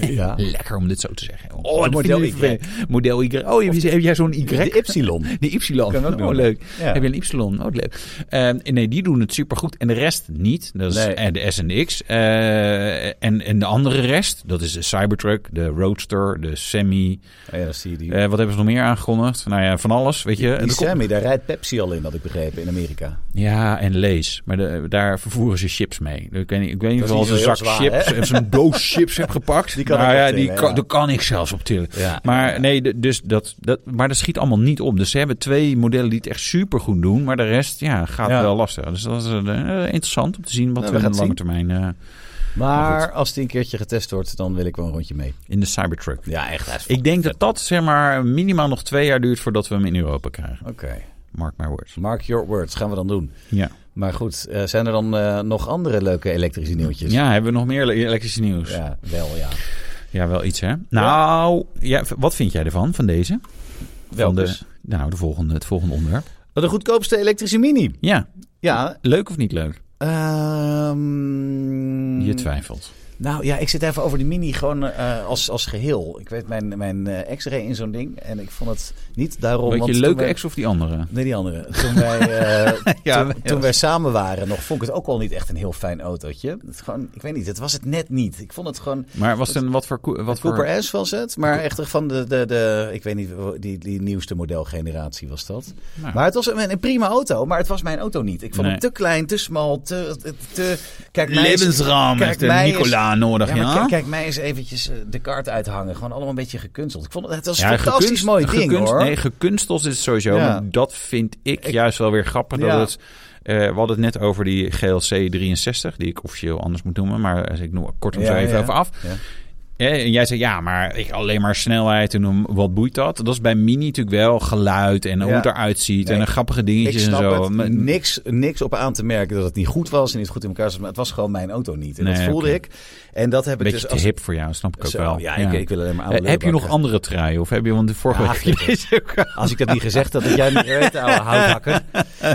[SPEAKER 3] Ja.
[SPEAKER 1] Lekker om dit zo te zeggen.
[SPEAKER 3] Oh,
[SPEAKER 1] dat
[SPEAKER 3] Model
[SPEAKER 1] vind ik weer vervelend. Model Y. Oh, heb, je- heb jij zo'n Y?
[SPEAKER 3] De Y.
[SPEAKER 1] De Y.
[SPEAKER 3] Kan ook
[SPEAKER 1] oh,
[SPEAKER 3] doen.
[SPEAKER 1] leuk.
[SPEAKER 3] Ja.
[SPEAKER 1] Heb je een Y? Oh, wat leuk. Eh, nee, die doen het supergoed. En de rest niet. Dat is
[SPEAKER 3] Nee.
[SPEAKER 1] eh, de S en de X. Eh, en, en de andere rest, dat is de Cybertruck, de Roadster, de Semi.
[SPEAKER 3] Oh ja, dat zie je die.
[SPEAKER 1] Eh, wat hebben ze nog meer aangekondigd? Nou ja, van alles, weet je. En
[SPEAKER 3] die
[SPEAKER 1] er komt-
[SPEAKER 3] Sammy, daar rijdt Pepsi al in, had ik begrepen, in Amerika.
[SPEAKER 1] Ja, en lees. Maar de- daar vervoeren ze chips mee. Ik weet niet, ik weet niet
[SPEAKER 3] Dat
[SPEAKER 1] of
[SPEAKER 3] is
[SPEAKER 1] als
[SPEAKER 3] niet
[SPEAKER 1] een
[SPEAKER 3] zo heel
[SPEAKER 1] zak
[SPEAKER 3] zwaar,
[SPEAKER 1] chips
[SPEAKER 3] hè?
[SPEAKER 1] of zo'n doos chips heb gepakt.
[SPEAKER 3] Die kan
[SPEAKER 1] nou
[SPEAKER 3] ik
[SPEAKER 1] ja,
[SPEAKER 3] optillen,
[SPEAKER 1] die kan,
[SPEAKER 3] ja.
[SPEAKER 1] daar kan ik zelfs op tillen.
[SPEAKER 3] Ja.
[SPEAKER 1] Maar nee, de- dus dat, dat, maar dat schiet allemaal niet op. Dus ze hebben twee modellen die het echt super goed doen. Maar de rest ja, gaat
[SPEAKER 3] Ja.
[SPEAKER 1] wel lastig. Dus dat is eh, interessant om te zien wat
[SPEAKER 3] Nou, we
[SPEAKER 1] we in
[SPEAKER 3] gaan
[SPEAKER 1] de lange termijn eh,
[SPEAKER 3] Maar als die een keertje getest wordt, dan wil ik wel een rondje mee.
[SPEAKER 1] in de Cybertruck.
[SPEAKER 3] Ja, echt. hij is-
[SPEAKER 1] Ik denk dat dat zeg maar minimaal nog twee jaar duurt voordat we hem in Europa krijgen.
[SPEAKER 3] Oké,
[SPEAKER 1] Mark my words.
[SPEAKER 3] mark your words, gaan we dan doen.
[SPEAKER 1] Ja.
[SPEAKER 3] Maar goed, eh, zijn er dan eh, nog andere leuke elektrische nieuwtjes?
[SPEAKER 1] Ja, hebben we nog meer le- elektrische nieuws?
[SPEAKER 3] Ja, wel ja.
[SPEAKER 1] Ja, wel iets hè. Nou, ja, v- wat vind jij ervan, van deze? Van
[SPEAKER 3] Welke?
[SPEAKER 1] de, nou, de volgende, het volgende onderwerp.
[SPEAKER 3] De goedkoopste elektrische mini.
[SPEAKER 1] Ja,
[SPEAKER 3] Ja.
[SPEAKER 1] leuk of niet leuk?
[SPEAKER 3] ehm,
[SPEAKER 1] Je twijfelt.
[SPEAKER 3] Nou ja, ik zit even over die mini gewoon eh, als, als geheel. Ik weet mijn, mijn eh, x-ray in zo'n ding en ik vond het niet daarom...
[SPEAKER 1] Weet
[SPEAKER 3] want
[SPEAKER 1] je,
[SPEAKER 3] toen
[SPEAKER 1] leuke
[SPEAKER 3] wij-
[SPEAKER 1] ex of die andere?
[SPEAKER 3] Nee, die andere. Toen wij, eh,
[SPEAKER 1] Ja,
[SPEAKER 3] toen,
[SPEAKER 1] wij-
[SPEAKER 3] toen wij samen waren nog, vond ik het ook al niet echt een heel fijn autootje. Het gewoon, ik weet niet, het was het net niet. Ik vond het gewoon...
[SPEAKER 1] Maar was het een wat voor... koe- Wat voor
[SPEAKER 3] Cooper S was het, maar echt van de, de, de ik weet niet, die, die nieuwste modelgeneratie was dat.
[SPEAKER 1] Nou.
[SPEAKER 3] Maar het was een, een prima auto, maar het was mijn auto niet. Ik vond
[SPEAKER 1] Nee.
[SPEAKER 3] het te klein, te smal, te... te, te- kijk, mij eens-
[SPEAKER 1] levensraam
[SPEAKER 3] Kijk,
[SPEAKER 1] heeft de
[SPEAKER 3] mij is-
[SPEAKER 1] Nicola nodig,
[SPEAKER 3] Ja,
[SPEAKER 1] ja?
[SPEAKER 3] maar
[SPEAKER 1] Ja,
[SPEAKER 3] kijk, kijk mij eens eventjes eh, de kaart uithangen. Gewoon allemaal een beetje gekunsteld. Ik vond het, het was een fantastisch mooi ding,
[SPEAKER 1] gekunst-
[SPEAKER 3] hoor.
[SPEAKER 1] Nee, gekunsteld is het sowieso.
[SPEAKER 3] Ja.
[SPEAKER 1] Maar dat vind ik, juist wel weer grappig.
[SPEAKER 3] Ja.
[SPEAKER 1] Dat het, eh, we hadden het net over die GLC 63, die ik officieel anders moet noemen. Maar eh, ik noem kort hem
[SPEAKER 3] Ja,
[SPEAKER 1] zo even
[SPEAKER 3] ja.
[SPEAKER 1] over af.
[SPEAKER 3] Ja.
[SPEAKER 1] Ja, en jij zei ja, maar ik alleen maar snelheid en hoe- wat boeit dat? Dat is bij Mini natuurlijk wel geluid en hoe
[SPEAKER 3] Ja.
[SPEAKER 1] het eruit ziet
[SPEAKER 3] Nee,
[SPEAKER 1] en een grappige
[SPEAKER 3] Ik
[SPEAKER 1] dingetjes en
[SPEAKER 3] snap
[SPEAKER 1] zo.
[SPEAKER 3] het. Mm,
[SPEAKER 1] Maar-
[SPEAKER 3] Niks, niks op aan te merken dat het niet goed was en niet goed in elkaar zat. Maar het was gewoon mijn auto niet. En dat
[SPEAKER 1] Nee,
[SPEAKER 3] voelde
[SPEAKER 1] oké.
[SPEAKER 3] ik. En dat heb ik
[SPEAKER 1] Beetje
[SPEAKER 3] dus
[SPEAKER 1] te hip voor jou, snap ik ook
[SPEAKER 3] Zo,
[SPEAKER 1] wel.
[SPEAKER 3] ja, ik- ik wil alleen maar oude
[SPEAKER 1] Eh, Heb je nog
[SPEAKER 3] lullenbakken.
[SPEAKER 1] andere truien? Of heb je, want de vorige
[SPEAKER 3] Ja,
[SPEAKER 1] week
[SPEAKER 3] flikker.
[SPEAKER 1] deze ook al.
[SPEAKER 3] Als ik dat niet gezegd had, dat jij niet weet, ouwe houthakker.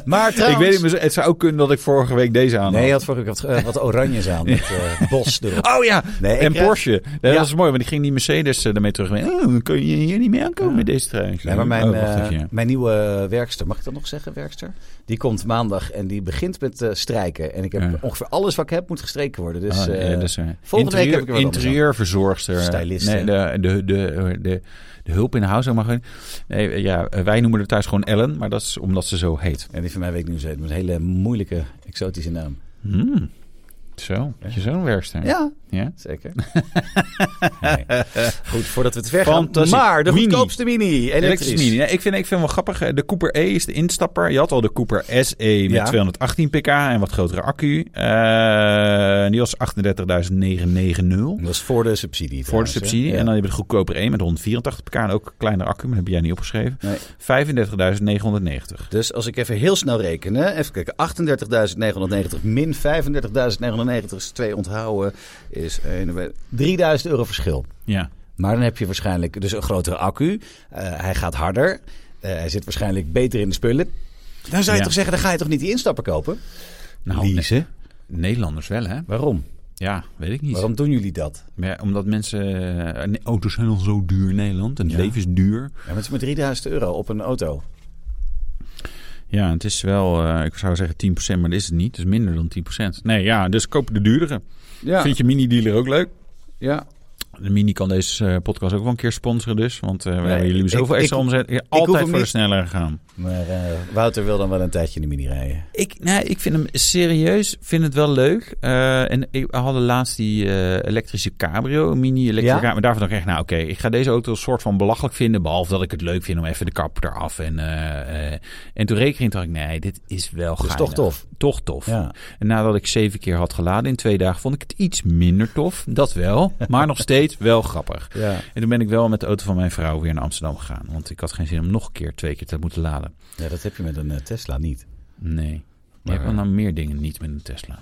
[SPEAKER 3] Maar
[SPEAKER 1] Ik
[SPEAKER 3] trouwens...
[SPEAKER 1] weet niet, maar het zou ook kunnen dat ik vorige week deze aan
[SPEAKER 3] Nee, je
[SPEAKER 1] had.
[SPEAKER 3] had vorige keer wat, eh, wat oranjes aan met eh, bos erop.
[SPEAKER 1] Oh ja,
[SPEAKER 3] Nee, ik
[SPEAKER 1] en
[SPEAKER 3] krijg-
[SPEAKER 1] Porsche. Nee,
[SPEAKER 3] Ja.
[SPEAKER 1] Dat is mooi, want ik ging die Mercedes eh, daarmee terug. Oh, dan kun je hier niet meer aankomen met deze trui. Ik zei,
[SPEAKER 3] Nee, maar mijn,
[SPEAKER 1] oh, wacht
[SPEAKER 3] eh,
[SPEAKER 1] even, ja.
[SPEAKER 3] mijn nieuwe werkster, mag ik dat nog zeggen, werkster? Die komt maandag en die begint met eh, strijken. En ik heb
[SPEAKER 1] Ja.
[SPEAKER 3] ongeveer alles wat ik heb moet gestreken worden. Dus,
[SPEAKER 1] Ah,
[SPEAKER 3] eh,
[SPEAKER 1] ja, dus, eh,
[SPEAKER 3] volgende week heb ik er wat anders aan.
[SPEAKER 1] Interieurverzorgster.
[SPEAKER 3] Stylist,
[SPEAKER 1] Nee, de, de, de, de, de hulp in de huis. Mag ik- nee, ja, wij noemen haar thuis gewoon Ellen, maar dat is omdat ze zo heet.
[SPEAKER 3] En die van mij weet ik niet hoe ze heet, met een hele moeilijke, exotische naam.
[SPEAKER 1] Hmm. Zo, heb je zo'n werkster.
[SPEAKER 3] Ja,
[SPEAKER 1] Ja?
[SPEAKER 3] zeker. Nee. Goed, voordat we te ver gaan.
[SPEAKER 1] Fantastisch.
[SPEAKER 3] Maar de
[SPEAKER 1] Mini.
[SPEAKER 3] goedkoopste mini, elektrisch.
[SPEAKER 1] Elektrisch. mini. Ja, ik, vind, ik vind hem wel grappig. Eh, De Cooper E is de instapper. Je had al de Cooper SE met
[SPEAKER 3] Ja.
[SPEAKER 1] 218 pk en wat grotere accu. Eh, die was 38.990.
[SPEAKER 3] Dat is voor de subsidie.
[SPEAKER 1] Voor de
[SPEAKER 3] trouwens, hè?
[SPEAKER 1] subsidie.
[SPEAKER 3] Ja.
[SPEAKER 1] En dan heb je de goedkoper 1 met 184 pk en ook een kleinere accu. Maar dat heb jij niet opgeschreven.
[SPEAKER 3] Nee.
[SPEAKER 1] 35.990.
[SPEAKER 3] Dus als ik even heel snel reken, hè, even kijken. 38.990 min 35.990 is twee onthouden, is één- 3000 euro verschil.
[SPEAKER 1] Ja.
[SPEAKER 3] Maar dan heb je waarschijnlijk dus een grotere accu. eh, hij gaat harder. eh, hij zit waarschijnlijk beter in de spullen. Dan zou je
[SPEAKER 1] Ja.
[SPEAKER 3] toch zeggen, dan ga je toch niet die instappen kopen?
[SPEAKER 1] Nou,
[SPEAKER 3] Leasen.
[SPEAKER 1] ne- Nederlanders wel, hè?
[SPEAKER 3] Waarom?
[SPEAKER 1] Ja, weet ik niet.
[SPEAKER 3] Waarom doen jullie dat?
[SPEAKER 1] Maar ja, omdat mensen... eh, ne- auto's zijn al zo duur in Nederland. En het
[SPEAKER 3] Ja.
[SPEAKER 1] leven is duur.
[SPEAKER 3] Ja, maar het is maar 3000 euro op een auto.
[SPEAKER 1] Ja, het is wel... eh, ik zou zeggen 10%, maar dat is het niet. Het is minder dan 10%. Nee, ja, dus koop de duurdere.
[SPEAKER 3] Ja,
[SPEAKER 1] Vind je mini-dealer ook leuk?
[SPEAKER 3] ja.
[SPEAKER 1] De mini kan deze eh, podcast ook wel een keer sponsoren dus. Want eh, we
[SPEAKER 3] Nee,
[SPEAKER 1] hebben jullie
[SPEAKER 3] ik-
[SPEAKER 1] zoveel
[SPEAKER 3] ik-
[SPEAKER 1] extra
[SPEAKER 3] ik-
[SPEAKER 1] omzet. Ja,
[SPEAKER 3] hoef
[SPEAKER 1] altijd
[SPEAKER 3] hem
[SPEAKER 1] voor de
[SPEAKER 3] niet.
[SPEAKER 1] sneller gaan.
[SPEAKER 3] Maar eh, Wouter wil dan wel een tijdje in de mini rijden.
[SPEAKER 1] Ik, nee, ik vind hem serieus, vind het wel leuk. Eh, en ik, we hadden laatst die eh, elektrische cabrio, een mini elektrische
[SPEAKER 3] Ja?
[SPEAKER 1] cabrio. Maar daarvan dacht ik echt, nou oké, ik ga deze auto een soort van belachelijk vinden. Behalve dat ik het leuk vind om even de kap eraf. En, eh, eh, en toen reken ik, dacht ik, nee, dit is wel
[SPEAKER 3] Dus
[SPEAKER 1] gaaf.
[SPEAKER 3] toch tof.
[SPEAKER 1] Toch tof.
[SPEAKER 3] Ja.
[SPEAKER 1] En nadat ik zeven keer had geladen in twee dagen, vond ik het iets minder tof. Dat wel, maar nog steeds wel grappig.
[SPEAKER 3] Ja.
[SPEAKER 1] En toen ben ik wel met de auto van mijn vrouw weer naar Amsterdam gegaan. Want ik had geen zin om nog een keer twee keer te moeten laden.
[SPEAKER 3] ja, dat heb je met een eh, Tesla niet.
[SPEAKER 1] Nee. Je
[SPEAKER 3] Maar,
[SPEAKER 1] hebt nou wel
[SPEAKER 3] eh,
[SPEAKER 1] nou meer dingen niet met een Tesla.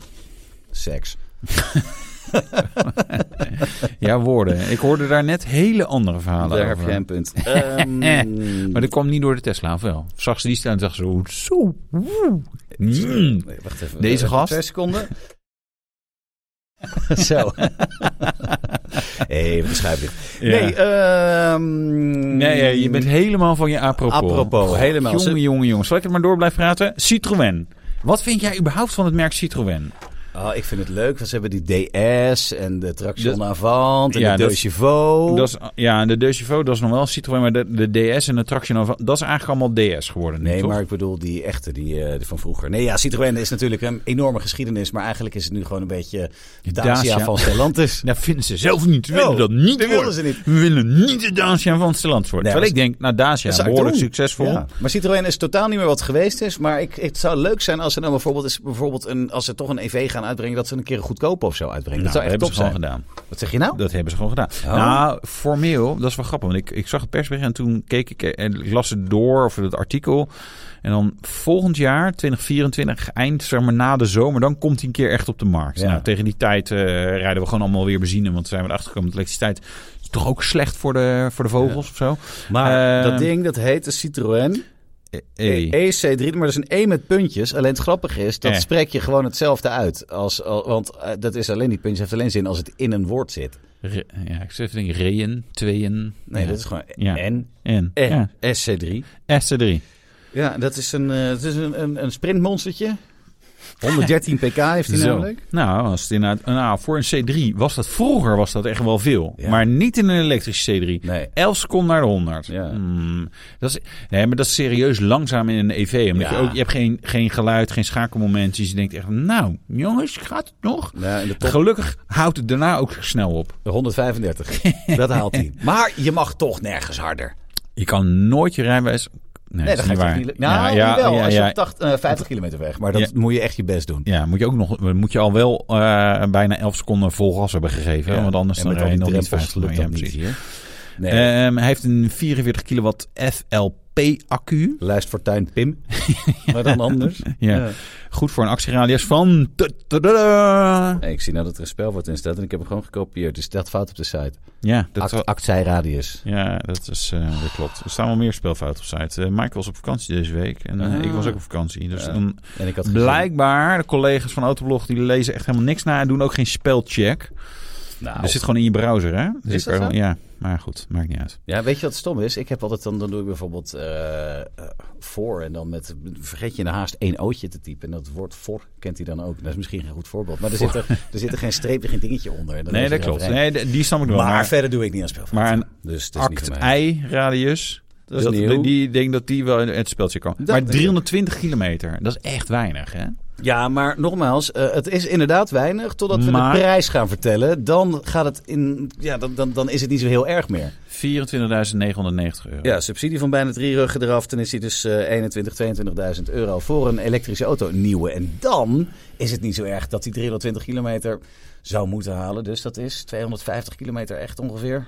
[SPEAKER 3] Seks.
[SPEAKER 1] Ja, woorden. Ik hoorde daar net hele andere verhalen
[SPEAKER 3] Daar heb
[SPEAKER 1] Ah, over.
[SPEAKER 3] jij een punt. Ehm,
[SPEAKER 1] Maar dat kwam niet door de Tesla, of wel? Of zag ze die staan en zag ze... hoe- Zo, woe. Mm.
[SPEAKER 3] Nee, wacht even.
[SPEAKER 1] Deze
[SPEAKER 3] Even
[SPEAKER 1] gast?
[SPEAKER 3] Twee seconden. Zo. Even beschrijven. Nee, ehm,
[SPEAKER 1] Nee, eh, je bent helemaal van je apropos.
[SPEAKER 3] Apropos,
[SPEAKER 1] Goh,
[SPEAKER 3] helemaal.
[SPEAKER 1] Jongen, jongen, jongen. Zal ik het maar door blijven praten? Citroën. Wat vind jij überhaupt van het merk Citroën?
[SPEAKER 3] Oh, ik vind het leuk, want ze hebben die DS en de Traction
[SPEAKER 1] Dat-
[SPEAKER 3] Avant en
[SPEAKER 1] Dus- Ja,
[SPEAKER 3] de
[SPEAKER 1] dat-
[SPEAKER 3] Deux Chevaux.
[SPEAKER 1] Dat is, ja, de Deuxivo, dat is nog wel Citroën, maar de, de DS en de Traction, Avant, dat is eigenlijk allemaal DS geworden. nu,
[SPEAKER 3] Nee,
[SPEAKER 1] toch?
[SPEAKER 3] maar ik bedoel die echte, die, eh, die van vroeger. Nee, ja, Citroën is natuurlijk een enorme geschiedenis, maar eigenlijk is het nu gewoon een beetje Dacia,
[SPEAKER 1] Dacia.
[SPEAKER 3] van Stellantis.
[SPEAKER 1] Dat vinden ze zelf niet. We willen
[SPEAKER 3] Oh,
[SPEAKER 1] dat niet
[SPEAKER 3] dat
[SPEAKER 1] worden.
[SPEAKER 3] willen ze niet.
[SPEAKER 1] We willen niet de Dacia van Stellantis worden.
[SPEAKER 3] Nee,
[SPEAKER 1] Terwijl ik
[SPEAKER 3] maar-
[SPEAKER 1] denk, nou Dacia,
[SPEAKER 3] Dat zou ik
[SPEAKER 1] behoorlijk
[SPEAKER 3] doen.
[SPEAKER 1] succesvol.
[SPEAKER 3] Ja. Maar Citroën is totaal niet meer wat het geweest is. Maar ik, het zou leuk zijn als ze dan bijvoorbeeld, is bijvoorbeeld een, als ze toch een EV gaan uitbrengen, dat ze een keer een goedkope of zo
[SPEAKER 1] Nou,
[SPEAKER 3] uitbrengen. dat zou echt
[SPEAKER 1] hebben
[SPEAKER 3] top
[SPEAKER 1] ze gewoon
[SPEAKER 3] zijn.
[SPEAKER 1] gedaan.
[SPEAKER 3] Wat zeg je nou?
[SPEAKER 1] Dat hebben ze gewoon gedaan. Nou, formeel, dat is wel grappig. Want ik, ik zag het persbericht en toen keek ik eh, en ik las het door of het artikel. En dan volgend jaar, 2024, eind zeg maar na de zomer, dan komt hij een keer echt op de markt.
[SPEAKER 3] Ja.
[SPEAKER 1] Nou, tegen die tijd eh, rijden we gewoon allemaal weer benzine. Want zijn we erachter gekomen dat elektriciteit is toch ook slecht voor de, voor de vogels of zo.
[SPEAKER 3] Maar
[SPEAKER 1] Ehm,
[SPEAKER 3] dat ding, dat heet de Citroën
[SPEAKER 1] Eh,
[SPEAKER 3] E.
[SPEAKER 1] eh.
[SPEAKER 3] EC3. Maar dat is een E met puntjes. Alleen het grappige is, dat
[SPEAKER 1] Eh.
[SPEAKER 3] spreek je gewoon hetzelfde uit. Als, al- want eh, dat is alleen die puntjes heeft alleen zin als het in een woord zit.
[SPEAKER 1] Re- ja, ik zeg denk reën, tweeën.
[SPEAKER 3] Nee,
[SPEAKER 1] ja.
[SPEAKER 3] dat E. is gewoon
[SPEAKER 1] Ja.
[SPEAKER 3] N,
[SPEAKER 1] En,
[SPEAKER 3] R,
[SPEAKER 1] ja,
[SPEAKER 3] SC3.
[SPEAKER 1] SC3.
[SPEAKER 3] Ja, dat is een, eh, dat is een, een, een sprintmonstertje. 113 pk heeft hij
[SPEAKER 1] Zo.
[SPEAKER 3] namelijk.
[SPEAKER 1] Nou, als het inderdaad, nou, voor een C3 was dat vroeger was dat echt wel veel.
[SPEAKER 3] Ja.
[SPEAKER 1] Maar niet in een elektrische C3.
[SPEAKER 3] Nee.
[SPEAKER 1] 11 seconden naar de 100.
[SPEAKER 3] Ja.
[SPEAKER 1] Hmm, dat is, nee, maar dat is serieus langzaam in een EV. Omdat
[SPEAKER 3] Ja.
[SPEAKER 1] je, ook, je hebt geen, geen geluid, geen schakelmomentjes. je denkt echt, nou jongens, gaat het nog?
[SPEAKER 3] Ja, in de top
[SPEAKER 1] Gelukkig houdt het daarna ook snel op.
[SPEAKER 3] 135. dat haalt hij. Maar je mag toch nergens harder.
[SPEAKER 1] Je kan nooit je rijbewijs... Nee,
[SPEAKER 3] Nee,
[SPEAKER 1] dat
[SPEAKER 3] dat
[SPEAKER 1] is
[SPEAKER 3] gaat
[SPEAKER 1] niet
[SPEAKER 3] je
[SPEAKER 1] waar.
[SPEAKER 3] niet. Nou, ja, wel. als je op 80, eh, 50 kilometer weg. Maar dat
[SPEAKER 1] Ja.
[SPEAKER 3] moet je echt je best doen.
[SPEAKER 1] Ja, moet je ook nog, moet je al wel eh, bijna 11 seconden vol gas hebben gegeven. hè?
[SPEAKER 3] Ja.
[SPEAKER 1] Want anders
[SPEAKER 3] En
[SPEAKER 1] dan
[SPEAKER 3] met
[SPEAKER 1] rij je
[SPEAKER 3] al die
[SPEAKER 1] nog niet
[SPEAKER 3] drempels
[SPEAKER 1] 50
[SPEAKER 3] lukt
[SPEAKER 1] Ja,
[SPEAKER 3] dat niet
[SPEAKER 1] precies.
[SPEAKER 3] Nee.
[SPEAKER 1] Ehm, hij heeft een 44 kilowatt FLP accu.
[SPEAKER 3] Lijst voor tuin Pim. maar dan anders.
[SPEAKER 1] Ja.
[SPEAKER 3] Ja.
[SPEAKER 1] Goed voor een actieradius van... tadadada.
[SPEAKER 3] Nee, ik zie nou dat er een spelwoord in staat en ik heb hem gewoon gekopieerd. Dus dat fout op de site.
[SPEAKER 1] Ja, dat,
[SPEAKER 3] Act,
[SPEAKER 1] wel-
[SPEAKER 3] actijradius.
[SPEAKER 1] ja, dat, is, eh, dat klopt. Er staan wel meer spelfouten op site. Eh, Michael was op vakantie deze week. En eh,
[SPEAKER 3] Ah.
[SPEAKER 1] ik was ook op vakantie. Dus
[SPEAKER 3] Ja.
[SPEAKER 1] dan
[SPEAKER 3] En ik had gezien-
[SPEAKER 1] blijkbaar, de collega's van Autoblog... die lezen echt helemaal niks na en doen ook geen spelcheck.
[SPEAKER 3] Nou,
[SPEAKER 1] Dat zit gewoon in je browser, hè? Dus
[SPEAKER 3] Is
[SPEAKER 1] ik
[SPEAKER 3] dat
[SPEAKER 1] kan-
[SPEAKER 3] zo?
[SPEAKER 1] Ja, maar goed, maakt niet uit.
[SPEAKER 3] Ja, weet je wat stom is? Ik heb altijd dan, dan doe ik bijvoorbeeld eh, eh, voor en dan met vergeet je in de haast één ootje te typen en dat woord voor kent hij dan ook. Dat is misschien geen goed voorbeeld, maar er zit er, er zit er geen streepje, geen dingetje onder. En dan
[SPEAKER 1] Nee,
[SPEAKER 3] lees je
[SPEAKER 1] dat klopt.
[SPEAKER 3] eroverheen.
[SPEAKER 1] Nee, de- die snap ik wel.
[SPEAKER 3] maar,
[SPEAKER 1] Maar,
[SPEAKER 3] verder doe ik niet aan spelfouten.
[SPEAKER 1] maar een
[SPEAKER 3] dus het is niet voor mij.
[SPEAKER 1] act-i-radius.
[SPEAKER 3] Dat is
[SPEAKER 1] Dat
[SPEAKER 3] nieuw.
[SPEAKER 1] die ik denk dat die wel in het speltje kan.
[SPEAKER 3] Dat
[SPEAKER 1] maar
[SPEAKER 3] denk ik.
[SPEAKER 1] 320 kilometer, dat is echt weinig, hè?
[SPEAKER 3] Ja, maar nogmaals, eh, het is inderdaad weinig totdat we
[SPEAKER 1] Maar-
[SPEAKER 3] de prijs gaan vertellen. Dan gaat het in, ja, dan, dan, dan is het niet zo heel erg meer.
[SPEAKER 1] 24.990 euro.
[SPEAKER 3] Ja, subsidie van bijna drie ruggen eraf. Dan is hij dus eh, 21, 22.000 euro voor een elektrische auto, een nieuwe. En dan is het niet zo erg dat hij 320 kilometer zou moeten halen. Dus dat is 250 kilometer echt ongeveer.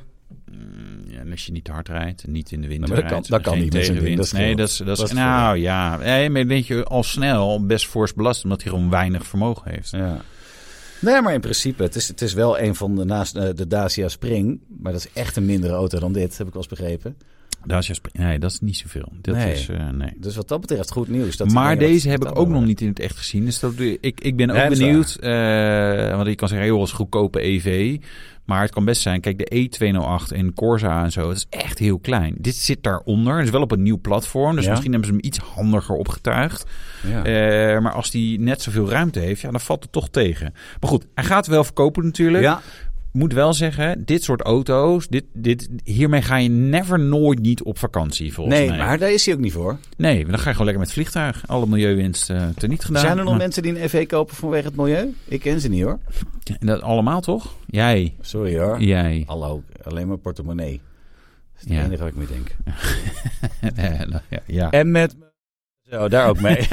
[SPEAKER 1] Ja, en als je niet te hard rijdt, en niet in de winter
[SPEAKER 3] Maar dat kan-
[SPEAKER 1] rijdt,
[SPEAKER 3] dat kan
[SPEAKER 1] geen
[SPEAKER 3] niet met zo'n ding,
[SPEAKER 1] tegenwind.
[SPEAKER 3] dat is
[SPEAKER 1] nee,
[SPEAKER 3] veel.
[SPEAKER 1] dat is, dat is,
[SPEAKER 3] Dat is
[SPEAKER 1] nou ja. Nee, maar dan denk je al snel best fors belast, omdat hij gewoon weinig vermogen heeft.
[SPEAKER 3] Nou Ja. Nee, maar in principe, het is, het is wel een van de, naast eh, de Dacia Spring. Maar dat is echt een mindere auto dan dit, heb ik wel eens begrepen.
[SPEAKER 1] Daar is je sp- nee, dat is niet zoveel. Dat
[SPEAKER 3] Nee.
[SPEAKER 1] is, eh, nee.
[SPEAKER 3] Dus wat dat betreft goed nieuws. Dat die
[SPEAKER 1] maar
[SPEAKER 3] dingen
[SPEAKER 1] deze
[SPEAKER 3] wat
[SPEAKER 1] heb ik ook
[SPEAKER 3] betaalbaar
[SPEAKER 1] nog
[SPEAKER 3] worden.
[SPEAKER 1] niet in het echt gezien. Dus dat, ik, ik ben ook
[SPEAKER 3] Nee, dat is
[SPEAKER 1] benieuwd. eh, want je kan zeggen, heel als goedkope EV. Maar het kan best zijn. Kijk, de E E208 en Corsa en zo. Het is echt heel klein. Dit zit daaronder. Het is wel op een nieuw platform. Dus
[SPEAKER 3] Ja.
[SPEAKER 1] misschien hebben ze hem iets handiger opgetuigd.
[SPEAKER 3] Ja.
[SPEAKER 1] Eh, maar als die net zoveel ruimte heeft, ja, dan valt het toch tegen. Maar goed, hij gaat wel verkopen natuurlijk.
[SPEAKER 3] Ja,
[SPEAKER 1] Moet wel zeggen, dit soort auto's, dit, dit, hiermee ga je never nooit niet op vakantie volgens
[SPEAKER 3] nee,
[SPEAKER 1] mij.
[SPEAKER 3] maar daar is hij ook niet voor.
[SPEAKER 1] Nee, dan ga je gewoon lekker met vliegtuig. Alle milieuwinst eh teniet gedaan.
[SPEAKER 3] Zijn er nog
[SPEAKER 1] Maar-
[SPEAKER 3] mensen die een EV kopen vanwege het milieu? Ik ken ze niet hoor.
[SPEAKER 1] En Dat allemaal toch? Jij.
[SPEAKER 3] Sorry hoor.
[SPEAKER 1] Jij.
[SPEAKER 3] Hallo, alleen maar portemonnee. Dat is het
[SPEAKER 1] Ja. Ah.
[SPEAKER 3] enige wat ik mee denk.
[SPEAKER 1] ja, ja.
[SPEAKER 3] En met... Zo, daar ook mee.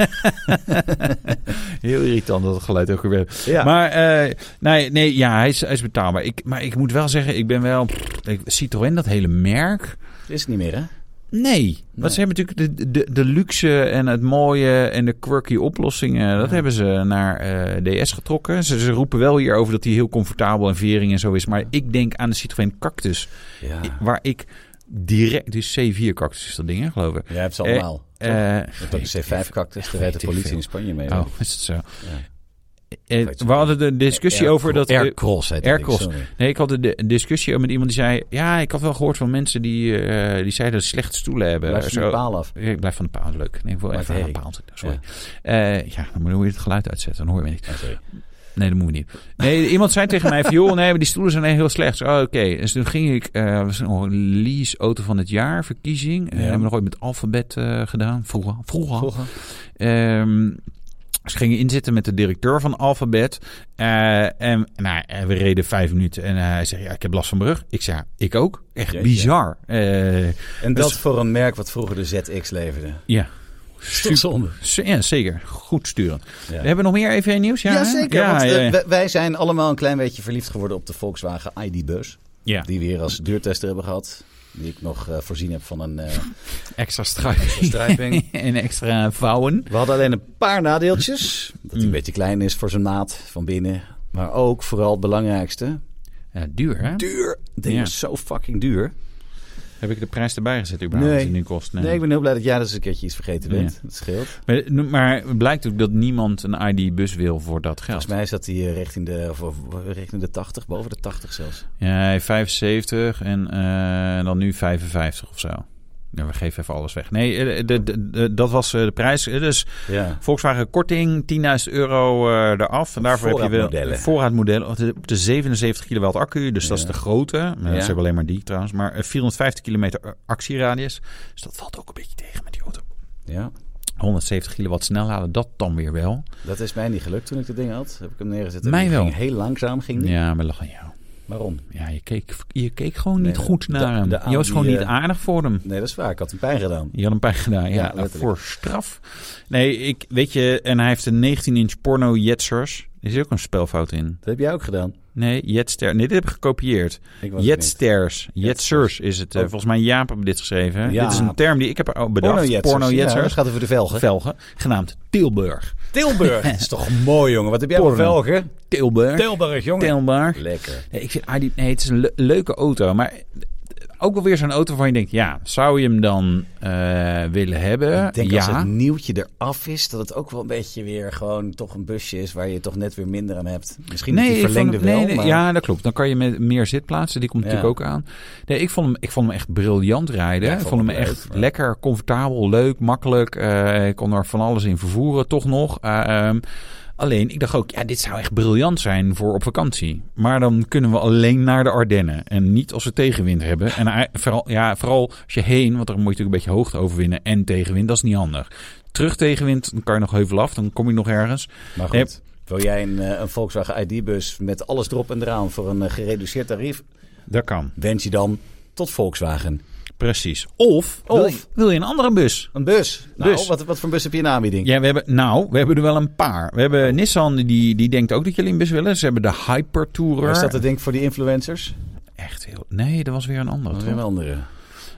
[SPEAKER 1] Heel irritant dat het geluid ook weer. werd.
[SPEAKER 3] ja.
[SPEAKER 1] Maar eh, nee, nee, ja, hij is, hij is betaalbaar. Ik, maar ik moet wel zeggen, ik ben wel. pff, ik- Citroën, dat hele merk.
[SPEAKER 3] Is het niet meer hè?
[SPEAKER 1] Nee, want ze hebben natuurlijk de, de, de luxe en het mooie en de quirky oplossingen. Dat hebben ze naar eh, DS getrokken. Ze, ze roepen wel hierover dat hij heel comfortabel en vering en zo is. Maar ik denk aan de Citroën Cactus.
[SPEAKER 3] Ja.
[SPEAKER 1] i- Waar ik direct... Dus C4 Cactus is dat ding, hè, geloof ik.
[SPEAKER 3] Jij hebt ze allemaal.
[SPEAKER 1] Eh,
[SPEAKER 3] Je hebt ook een C5-cactus, dus daar
[SPEAKER 1] weet
[SPEAKER 3] rijdt de
[SPEAKER 1] ik
[SPEAKER 3] politie
[SPEAKER 1] veel.
[SPEAKER 3] in Spanje mee.
[SPEAKER 1] oh,
[SPEAKER 3] hoor.
[SPEAKER 1] is het zo? Eh,
[SPEAKER 3] Weet je
[SPEAKER 1] we hadden de discussie
[SPEAKER 3] Air-
[SPEAKER 1] over dat... eh,
[SPEAKER 3] Aircross heet dat ding,
[SPEAKER 1] Aircross.
[SPEAKER 3] sorry.
[SPEAKER 1] Nee, ik had de- de- een discussie met iemand die zei... Ja, ik had wel gehoord van mensen die, eh, die zeiden dat ze slechte stoelen hebben.
[SPEAKER 3] Blijf van de
[SPEAKER 1] Zo-
[SPEAKER 3] paal af.
[SPEAKER 1] Ja, Ik blijf van de paal, leuk. Nee, ik wil
[SPEAKER 3] Maakt
[SPEAKER 1] even aan de
[SPEAKER 3] herrie.
[SPEAKER 1] paal zitten, sorry. Ja. Eh, ja, dan moet je het geluid uitzetten, dan hoor je me niet. Nee, dat moet niet. Nee, iemand zei tegen mij van, joh, nee, maar die stoelen zijn heel slecht. Ik zei, Oh, oké. Dus toen ging ik, eh was nog een lease-auto van het jaar, verkiezing. Eh,
[SPEAKER 3] Ja.
[SPEAKER 1] hebben we nog ooit met Alphabet eh, gedaan, vroeger. Vroeger.
[SPEAKER 3] Vroeger.
[SPEAKER 1] Ehm, ze gingen inzitten met de directeur van Alphabet. Eh, en nou, eh, we reden vijf minuten. En eh, hij zei, ja, ik heb last van mijn rug. Ik zei, ja, ik ook. Echt
[SPEAKER 3] Jeetje.
[SPEAKER 1] bizar. Eh,
[SPEAKER 3] En dat
[SPEAKER 1] Dus-
[SPEAKER 3] voor een merk wat vroeger de ZX leverde.
[SPEAKER 1] ja.
[SPEAKER 3] Super. Zonde.
[SPEAKER 1] Z- Ja, zeker. Goed sturen.
[SPEAKER 3] Ja.
[SPEAKER 1] We hebben nog meer even nieuws? Ja, hè?
[SPEAKER 3] Jazeker,
[SPEAKER 1] Ja,
[SPEAKER 3] want eh,
[SPEAKER 1] ja, ja.
[SPEAKER 3] wij- wij zijn allemaal een klein beetje verliefd geworden op de Volkswagen ID-bus.
[SPEAKER 1] Ja.
[SPEAKER 3] Die we hier als duurtester hebben gehad. Die ik nog eh, voorzien heb van een eh,
[SPEAKER 1] extra strijping.
[SPEAKER 3] strijping.
[SPEAKER 1] en extra vouwen.
[SPEAKER 3] We hadden alleen een paar nadeeltjes. Dat
[SPEAKER 1] Hmm.
[SPEAKER 3] hij een beetje klein is voor zijn maat van binnen. Maar ook, vooral het belangrijkste,
[SPEAKER 1] Ja, duur, hè?
[SPEAKER 3] duur. Het ding
[SPEAKER 1] Ja.
[SPEAKER 3] is zo fucking duur.
[SPEAKER 1] Heb ik de prijs erbij gezet überhaupt?
[SPEAKER 3] Nee.
[SPEAKER 1] die nu kost?
[SPEAKER 3] Nee, ik ben heel blij dat jij dus een keertje iets vergeten bent.
[SPEAKER 1] Ja.
[SPEAKER 3] Dat scheelt.
[SPEAKER 1] maar, maar het blijkt ook dat niemand een ID-bus wil voor dat geld.
[SPEAKER 3] Volgens mij zat hij eh, richting de, of, of, richting de 80, boven de 80 zelfs.
[SPEAKER 1] Ja, 75 en eh, dan nu 55 of zo. Ja, we geven even alles weg. Nee, eh, de, de- de- dat was eh, de prijs. Eh, Dus
[SPEAKER 3] Ja.
[SPEAKER 1] Volkswagen korting, 10.000 euro eh eraf. En daarvoor heb je wel
[SPEAKER 3] Voorraadmodellen.
[SPEAKER 1] voorraadmodellen. Op de- op de 77 kilowatt accu, dus dat is de grote. Maar
[SPEAKER 3] Ja.
[SPEAKER 1] Ze hebben alleen maar die trouwens. Maar eh, 450 kilometer actieradius. Dus dat valt ook een beetje tegen met die auto.
[SPEAKER 3] ja.
[SPEAKER 1] 170 kilowatt snelladen, dat dan weer wel.
[SPEAKER 3] Dat is mij niet gelukt toen ik dat ding had. Heb ik hem neergezet. en
[SPEAKER 1] Mij
[SPEAKER 3] die
[SPEAKER 1] wel.
[SPEAKER 3] Ging heel langzaam ging die.
[SPEAKER 1] Ja, maar lach aan jou.
[SPEAKER 3] Waarom?
[SPEAKER 1] Ja, je keek, je keek gewoon niet
[SPEAKER 3] Nee,
[SPEAKER 1] goed
[SPEAKER 3] de-
[SPEAKER 1] naar hem.
[SPEAKER 3] de
[SPEAKER 1] je was
[SPEAKER 3] Audi,
[SPEAKER 1] gewoon niet
[SPEAKER 3] eh,
[SPEAKER 1] aardig voor hem.
[SPEAKER 3] Nee, dat is waar. Ik had een pijn gedaan.
[SPEAKER 1] Je had een pijn gedaan,
[SPEAKER 3] Ja,
[SPEAKER 1] ja. eh,
[SPEAKER 3] letterlijk.
[SPEAKER 1] voor straf. Nee, ik weet je, en hij heeft een 19-inch porno Jetsers. Er is ook een spelfout in.
[SPEAKER 3] Dat heb jij ook gedaan.
[SPEAKER 1] Nee, Jetster. Nee, dit heb ik gekopieerd.
[SPEAKER 3] Ik was het niet.
[SPEAKER 1] Jetsters. Jetsers is het. eh,
[SPEAKER 3] Oh.
[SPEAKER 1] volgens mij Jaap heeft dit geschreven.
[SPEAKER 3] Jaap.
[SPEAKER 1] Dit is een term die ik heb er al bedacht.
[SPEAKER 3] Porno-jetsers. Ja, dat
[SPEAKER 1] Porno-Jetsers.
[SPEAKER 3] gaat over de velgen.
[SPEAKER 1] velgen. Genaamd Tilburg.
[SPEAKER 3] Tilburg. dat is toch mooi, jongen. Wat heb jij voor
[SPEAKER 1] Porno.
[SPEAKER 3] velgen?
[SPEAKER 1] Tilburg.
[SPEAKER 3] Tilburg, jongen.
[SPEAKER 1] Tilburg.
[SPEAKER 3] Lekker.
[SPEAKER 1] Nee, ik vind ID nee, het is een le- leuke auto, maar ook wel weer zo'n auto waarvan je denkt, ja, zou je hem dan eh, willen hebben?
[SPEAKER 3] Ik denk
[SPEAKER 1] ja.
[SPEAKER 3] als het nieuwtje eraf is, dat het ook wel een beetje weer gewoon toch een busje is waar je toch net weer minder aan hebt. Misschien nee, die
[SPEAKER 1] ik vond
[SPEAKER 3] verlengde
[SPEAKER 1] hem- nee,
[SPEAKER 3] wel,
[SPEAKER 1] nee,
[SPEAKER 3] maar
[SPEAKER 1] Ja, dat klopt. Dan kan je met meer zitplaatsen. Die komt
[SPEAKER 3] Ja.
[SPEAKER 1] natuurlijk ook aan. Nee, ik vond hem, ik vond hem echt briljant rijden.
[SPEAKER 3] Ja,
[SPEAKER 1] ik vond hem
[SPEAKER 3] leuk,
[SPEAKER 1] echt
[SPEAKER 3] maar-
[SPEAKER 1] lekker, comfortabel, leuk, makkelijk. Eh, ik kon er van alles in vervoeren, toch nog. Eh, ehm, alleen, ik dacht ook, ja, dit zou echt briljant zijn voor op vakantie. Maar dan kunnen we alleen naar de Ardennen. En niet als we tegenwind hebben. En eh, vooral, ja, vooral als je heen, want dan moet je natuurlijk een beetje hoogte overwinnen. En tegenwind, dat is niet handig. Terug tegenwind, dan kan je nog heuvel af. Dan kom je nog ergens.
[SPEAKER 3] maar
[SPEAKER 1] Nee.
[SPEAKER 3] goed. Wil jij een, eh, een Volkswagen ID-bus met alles erop en eraan voor een eh, gereduceerd tarief?
[SPEAKER 1] Dat kan.
[SPEAKER 3] Wens je dan tot Volkswagen.
[SPEAKER 1] Precies. Of,
[SPEAKER 3] Of.
[SPEAKER 1] Wil, je, wil je een andere bus?
[SPEAKER 3] Een bus. Nou,
[SPEAKER 1] Bus.
[SPEAKER 3] Wat, wat voor bus heb je in de aanbieding?
[SPEAKER 1] Ja, we hebben, nou, we hebben er wel een paar. We hebben Nissan, die, die denkt ook dat jullie een bus willen. Ze hebben de Hypertourer.
[SPEAKER 3] Is dat het ding voor die influencers?
[SPEAKER 1] Echt heel... Nee, dat was weer een andere.
[SPEAKER 3] Dat is
[SPEAKER 1] toch?
[SPEAKER 3] een andere.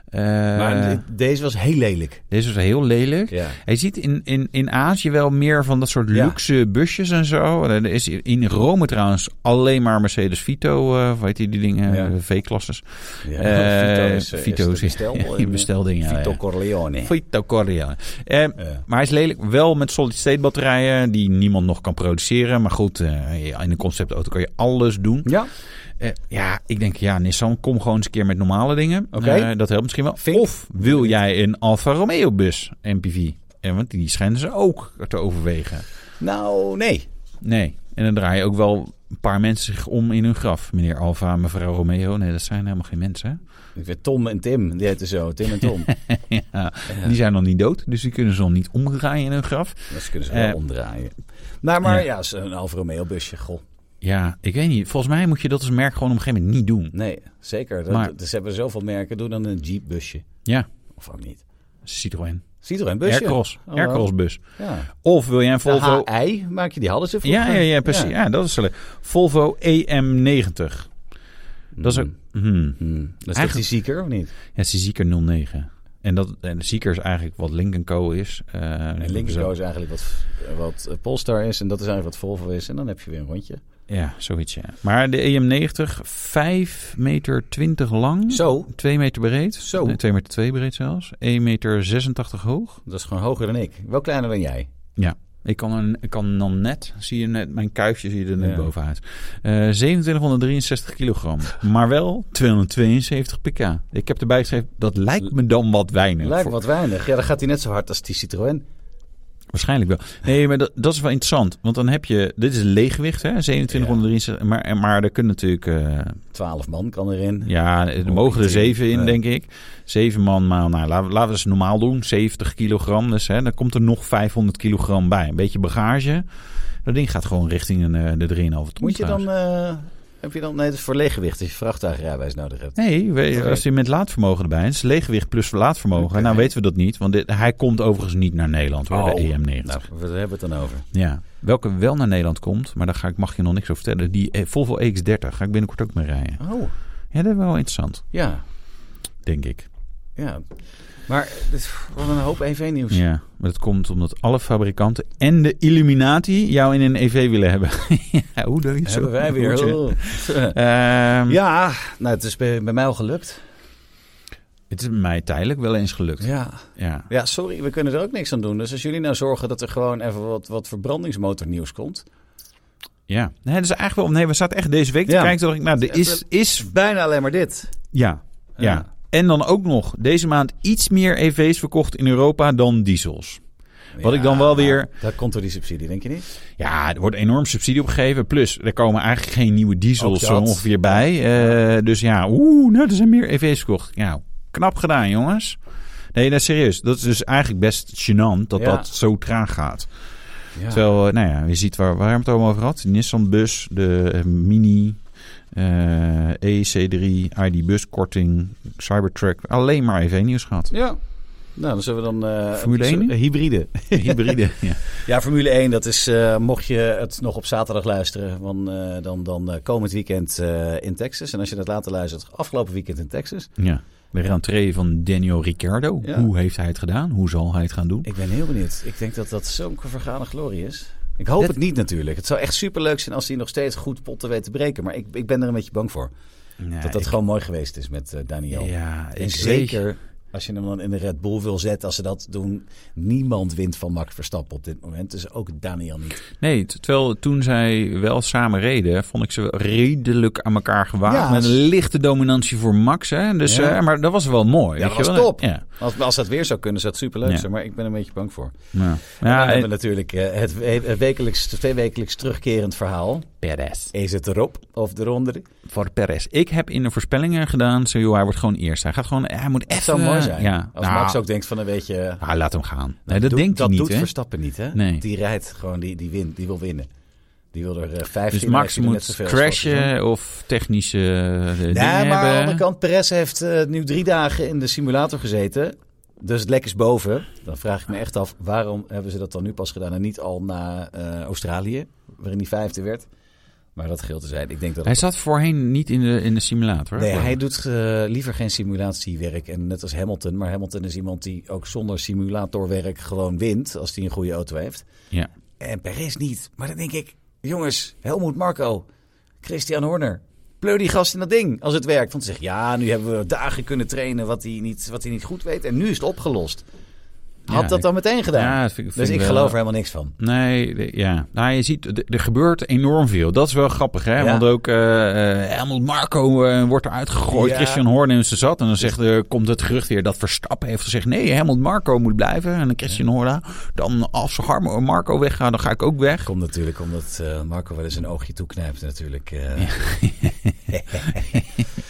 [SPEAKER 1] Eh,
[SPEAKER 3] maar de- deze was heel lelijk.
[SPEAKER 1] deze was heel lelijk.
[SPEAKER 3] Ja.
[SPEAKER 1] Je ziet in, in, in Azië wel meer van dat soort
[SPEAKER 3] Ja.
[SPEAKER 1] luxe busjes en zo. Er is in Rome trouwens alleen maar Mercedes Vito, eh, of weet je die dingen,
[SPEAKER 3] Ja.
[SPEAKER 1] de V-klasses.
[SPEAKER 3] Ja,
[SPEAKER 1] Eh,
[SPEAKER 3] eh,
[SPEAKER 1] Vito
[SPEAKER 3] het
[SPEAKER 1] is- ja, je
[SPEAKER 3] eh,
[SPEAKER 1] bestelding, ja,
[SPEAKER 3] Vito
[SPEAKER 1] ja.
[SPEAKER 3] Corleone.
[SPEAKER 1] Vito Corleone. Eh,
[SPEAKER 3] Ja.
[SPEAKER 1] Maar hij is lelijk. Wel met solid-state batterijen die niemand nog kan produceren. Maar goed, eh, in een conceptauto kan je alles doen.
[SPEAKER 3] Ja,
[SPEAKER 1] Eh, ja, ik denk, ja, Nissan, kom gewoon eens een keer met normale dingen.
[SPEAKER 3] Oké.
[SPEAKER 1] Eh, dat helpt misschien wel.
[SPEAKER 3] Vink.
[SPEAKER 1] Of wil jij een Alfa Romeo bus MPV? En Eh, want die schijnen ze ook te overwegen.
[SPEAKER 3] nou nee.
[SPEAKER 1] Nee. En dan draaien ook wel een paar mensen zich om in hun graf. Meneer Alfa, mevrouw Romeo. Nee, dat zijn helemaal geen mensen. hè?
[SPEAKER 3] Ik weet Tom en Tim, die heten zo. Tim en Tom.
[SPEAKER 1] ja. Die zijn nog niet dood, dus die kunnen ze nog niet omdraaien in hun graf.
[SPEAKER 3] Dat ze kunnen ze wel
[SPEAKER 1] Eh,
[SPEAKER 3] omdraaien. Nou, maar
[SPEAKER 1] ja.
[SPEAKER 3] ja, is een Alfa Romeo busje, goh.
[SPEAKER 1] Ja, ik weet niet. Volgens mij moet je dat als merk gewoon op een gegeven moment niet doen.
[SPEAKER 3] Nee, zeker. Dat,
[SPEAKER 1] Maar-
[SPEAKER 3] Dus hebben zoveel merken. Doe dan een Jeep busje.
[SPEAKER 1] Ja,
[SPEAKER 3] Of ook niet.
[SPEAKER 1] Citroën.
[SPEAKER 3] Citroën busje.
[SPEAKER 1] Aircross.
[SPEAKER 3] Oh,
[SPEAKER 1] Aircross bus.
[SPEAKER 3] Ja.
[SPEAKER 1] Of wil jij een
[SPEAKER 3] De
[SPEAKER 1] Volvo...
[SPEAKER 3] HI maak je, die hadden ze
[SPEAKER 1] Ja,
[SPEAKER 3] vroeger.
[SPEAKER 1] ja, ja, precies. Ja, dat is zo leuk. Volvo EM90. Dat is ook... Hmm.
[SPEAKER 3] Hmm. Dat is toch
[SPEAKER 1] Eigenlijk-
[SPEAKER 3] die zieker, of niet?
[SPEAKER 1] Ja, het is een zieker 09. En En, dat, en Seeker is eigenlijk wat Link Co is. eh,
[SPEAKER 3] En Linko is eigenlijk wat, wat eh, Polestar is. En dat is eigenlijk wat Volvo is. En dan heb je weer een rondje.
[SPEAKER 1] Ja, zoiets ja. Maar de E EM90, 5 meter 20 lang.
[SPEAKER 3] Zo,
[SPEAKER 1] 2 meter breed.
[SPEAKER 3] Zo.
[SPEAKER 1] Nee, 2 meter 2 breed zelfs. 1 meter 86 hoog.
[SPEAKER 3] dat is gewoon hoger dan ik. Wel kleiner dan jij.
[SPEAKER 1] Ik kan, een, ik kan dan net, zie je net, mijn kuifje zie je er net
[SPEAKER 3] Ja.
[SPEAKER 1] bovenuit. Eh 2763 kilogram, maar wel 272 pk. Ik heb erbij geschreven, dat lijkt me dan wat weinig.
[SPEAKER 3] Lijkt
[SPEAKER 1] Voor-
[SPEAKER 3] wat weinig. Ja, dan gaat hij net zo hard als die Citroën.
[SPEAKER 1] Waarschijnlijk wel. Nee, maar dat, dat is wel interessant. Want dan heb je, dit is leeggewicht hè, 2763. Maar, maar er kunnen natuurlijk, eh,
[SPEAKER 3] 12 man kan erin.
[SPEAKER 1] ja, er mogen er
[SPEAKER 3] ik denk,
[SPEAKER 1] zeven in
[SPEAKER 3] eh,
[SPEAKER 1] denk ik. Zeven man maal, nou laten we, laten we eens normaal doen, 70 kilogram. Dus hè, dan komt er nog 500 kilogram bij. Een beetje bagage. Dat ding gaat gewoon richting een, eh, de 3,5 ton.
[SPEAKER 3] Moet je
[SPEAKER 1] trouwens.
[SPEAKER 3] dan... eh, heb je dan... Nee, dat is voor leeggewicht. Als je vrachtwagenrijbewijs nodig hebt.
[SPEAKER 1] Nee, we-
[SPEAKER 3] Oké.
[SPEAKER 1] als hij met laadvermogen erbij is, leeggewicht plus laadvermogen.
[SPEAKER 3] Oké.
[SPEAKER 1] Nou weten we dat niet, want dit- hij komt overigens niet naar Nederland hoor,
[SPEAKER 3] Oh,
[SPEAKER 1] de EM90.
[SPEAKER 3] Nou, we hebben het dan over.
[SPEAKER 1] Ja. Welke wel naar Nederland komt, maar daar ga ik, mag je nog niks over vertellen. Die eh, Volvo EX30 ga ik binnenkort ook mee rijden.
[SPEAKER 3] Oh,
[SPEAKER 1] Ja, dat is wel interessant,
[SPEAKER 3] ja.
[SPEAKER 1] denk ik.
[SPEAKER 3] Ja. Maar dit is wat een hoop EV-nieuws.
[SPEAKER 1] Ja, maar dat komt omdat alle fabrikanten en de Illuminati jou in een EV willen hebben. ja, hoe doe je het zo?
[SPEAKER 3] Hebben wij weer.
[SPEAKER 1] Hoort
[SPEAKER 3] Oh.
[SPEAKER 1] je? Ehm,
[SPEAKER 3] Ja, nou, het is bij, bij mij al gelukt.
[SPEAKER 1] Het is mij tijdelijk wel eens gelukt. Ja.
[SPEAKER 3] Ja. ja, sorry, we kunnen er ook niks aan doen. Dus als jullie nou zorgen dat er gewoon even wat, wat verbrandingsmotornieuws komt.
[SPEAKER 1] Ja. Nee, dat is eigenlijk wel... Nee, we zaten echt deze week te
[SPEAKER 3] Ja.
[SPEAKER 1] kijken. Toen dacht ik, nou, er is, is
[SPEAKER 3] Bijna alleen maar dit.
[SPEAKER 1] Ja, ja.
[SPEAKER 3] Ja.
[SPEAKER 1] En dan ook nog deze maand iets meer EV's verkocht in Europa dan diesels. Wat ik dan wel weer-
[SPEAKER 3] Daar komt door die subsidie, denk je niet?
[SPEAKER 1] Ja, er wordt enorm subsidie opgegeven. Plus, er komen eigenlijk geen nieuwe diesels
[SPEAKER 3] Ook
[SPEAKER 1] zo
[SPEAKER 3] dat.
[SPEAKER 1] ongeveer bij. Eh, dus ja, oeh, nou, er zijn meer EV's verkocht. Ja, knap gedaan, jongens. Nee, dat is serieus. Dat is dus eigenlijk best gênant dat
[SPEAKER 3] Ja.
[SPEAKER 1] dat zo traag gaat.
[SPEAKER 3] Ja.
[SPEAKER 1] Terwijl, eh, nou ja, je ziet waar, waar we het allemaal over had. De Nissan-bus, de eh, Mini, eh EC3, ID-buskorting, Cybertruck. Alleen maar EV-nieuws gehad.
[SPEAKER 3] Ja. Nou, dan zullen we dan... eh,
[SPEAKER 1] Formule
[SPEAKER 3] zo-
[SPEAKER 1] 1?
[SPEAKER 3] Hybride.
[SPEAKER 1] Hybride, ja.
[SPEAKER 3] Ja, Formule 1, dat is, eh, mocht je het nog op zaterdag luisteren, dan, eh, dan, dan eh, komend weekend eh, in Texas. En als je dat later luistert, afgelopen weekend in Texas.
[SPEAKER 1] Ja. De rentree van Daniel Ricciardo.
[SPEAKER 3] Ja.
[SPEAKER 1] Hoe heeft hij het gedaan? Hoe zal hij het gaan doen?
[SPEAKER 3] Ik ben heel benieuwd. Ik denk dat dat zo'n vergane glorie is. Ik hoop
[SPEAKER 1] Dat-
[SPEAKER 3] het niet natuurlijk. Het zou echt superleuk zijn als hij nog steeds goed potten weet te breken. Maar ik, ik ben er een beetje bang voor.
[SPEAKER 1] Nee,
[SPEAKER 3] dat dat
[SPEAKER 1] ik-
[SPEAKER 3] gewoon mooi geweest is met eh, Daniel.
[SPEAKER 1] Ja,
[SPEAKER 3] en
[SPEAKER 1] ik
[SPEAKER 3] zeker
[SPEAKER 1] zeker.
[SPEAKER 3] als je hem dan in de Red Bull wil zetten, als ze dat doen. Niemand wint van Max Verstappen op dit moment. Dus ook Daniel niet.
[SPEAKER 1] Nee, t- terwijl toen zij wel samen reden, vond ik ze wel redelijk aan elkaar gewaagd.
[SPEAKER 3] Ja,
[SPEAKER 1] met een
[SPEAKER 3] dat is-
[SPEAKER 1] lichte dominantie voor Max. Hè? Dus,
[SPEAKER 3] Ja.
[SPEAKER 1] eh, maar dat was wel mooi.
[SPEAKER 3] Ja,
[SPEAKER 1] weet
[SPEAKER 3] dat
[SPEAKER 1] je
[SPEAKER 3] was
[SPEAKER 1] wel.
[SPEAKER 3] top.
[SPEAKER 1] Ja,
[SPEAKER 3] Als, als dat weer zou kunnen, zou het superleuk
[SPEAKER 1] Ja.
[SPEAKER 3] zijn. Maar ik ben er een beetje bang voor.
[SPEAKER 1] ja.
[SPEAKER 3] Ja,
[SPEAKER 1] ja,
[SPEAKER 3] hebben we
[SPEAKER 1] en-
[SPEAKER 3] natuurlijk eh, het we- het wekelijks, tweewekelijks terugkerend verhaal.
[SPEAKER 1] Perez.
[SPEAKER 3] Is het erop of eronder?
[SPEAKER 1] Voor Perez. Ik heb in de voorspellingen gedaan, zo joh, hij wordt gewoon eerst. Hij gaat gewoon, hij moet echt
[SPEAKER 3] Het zou mooi zijn.
[SPEAKER 1] Ja,
[SPEAKER 3] Als
[SPEAKER 1] Nou,
[SPEAKER 3] Max ook denkt van, een weet je...
[SPEAKER 1] ah, laat hem gaan. nee, dat
[SPEAKER 3] doet-
[SPEAKER 1] denkt
[SPEAKER 3] dat
[SPEAKER 1] hij
[SPEAKER 3] doet
[SPEAKER 1] niet, hè?
[SPEAKER 3] Verstappen niet, hè?
[SPEAKER 1] Nee.
[SPEAKER 3] Die rijdt gewoon, die, die, wint, die wil winnen. Die wil er eh, vijf
[SPEAKER 1] Dus
[SPEAKER 3] in, dan heeft
[SPEAKER 1] Max
[SPEAKER 3] hij er net
[SPEAKER 1] moet
[SPEAKER 3] zoveel als Verstappen.
[SPEAKER 1] crashen of technische eh, dingen
[SPEAKER 3] Nee, maar aan de
[SPEAKER 1] hebben.
[SPEAKER 3] andere kant, Perez heeft eh, nu drie dagen in de simulator gezeten. Dus het lek is boven. Dan vraag ik me echt af, waarom hebben ze dat dan nu pas gedaan en niet al na eh, Australië, waarin hij vijfde werd? Maar dat geldt te zijn. Ik denk dat
[SPEAKER 1] Hij zat voorheen niet in de, in de simulator. hè?
[SPEAKER 3] Nee, hij doet eh, liever geen simulatiewerk. En net als Hamilton. Maar Hamilton is iemand die ook zonder simulatorwerk gewoon wint. Als hij een goede auto heeft.
[SPEAKER 1] Ja.
[SPEAKER 3] En Perez niet. Maar dan denk ik, jongens, Helmoet Marco, Christian Horner. Pleur die gast in dat ding als het werkt. Want ze zegt, ja, nu hebben we dagen kunnen trainen wat hij niet, wat hij niet goed weet. En nu is het opgelost. Had
[SPEAKER 1] Ja,
[SPEAKER 3] dat
[SPEAKER 1] ik-
[SPEAKER 3] dan meteen gedaan.
[SPEAKER 1] Ja, dat vind ik-
[SPEAKER 3] dus
[SPEAKER 1] vind
[SPEAKER 3] ik
[SPEAKER 1] ik wel-
[SPEAKER 3] geloof er helemaal niks van.
[SPEAKER 1] Nee, de- ja. Nou, je ziet, d- er gebeurt enorm veel. Dat is wel grappig, hè?
[SPEAKER 3] Ja.
[SPEAKER 1] Want ook eh, eh, Helmut Marco eh, wordt eruit gegooid.
[SPEAKER 3] Ja.
[SPEAKER 1] Christian Horner is er zat. En dan zegt, eh, komt het gerucht weer dat Verstappen heeft gezegd... nee, Helmut Marco moet blijven. En Christian Horner, dan als Har- Marco weggaat, dan ga ik ook weg.
[SPEAKER 3] Komt natuurlijk omdat eh, Marco wel eens een oogje toeknijpt natuurlijk. eh,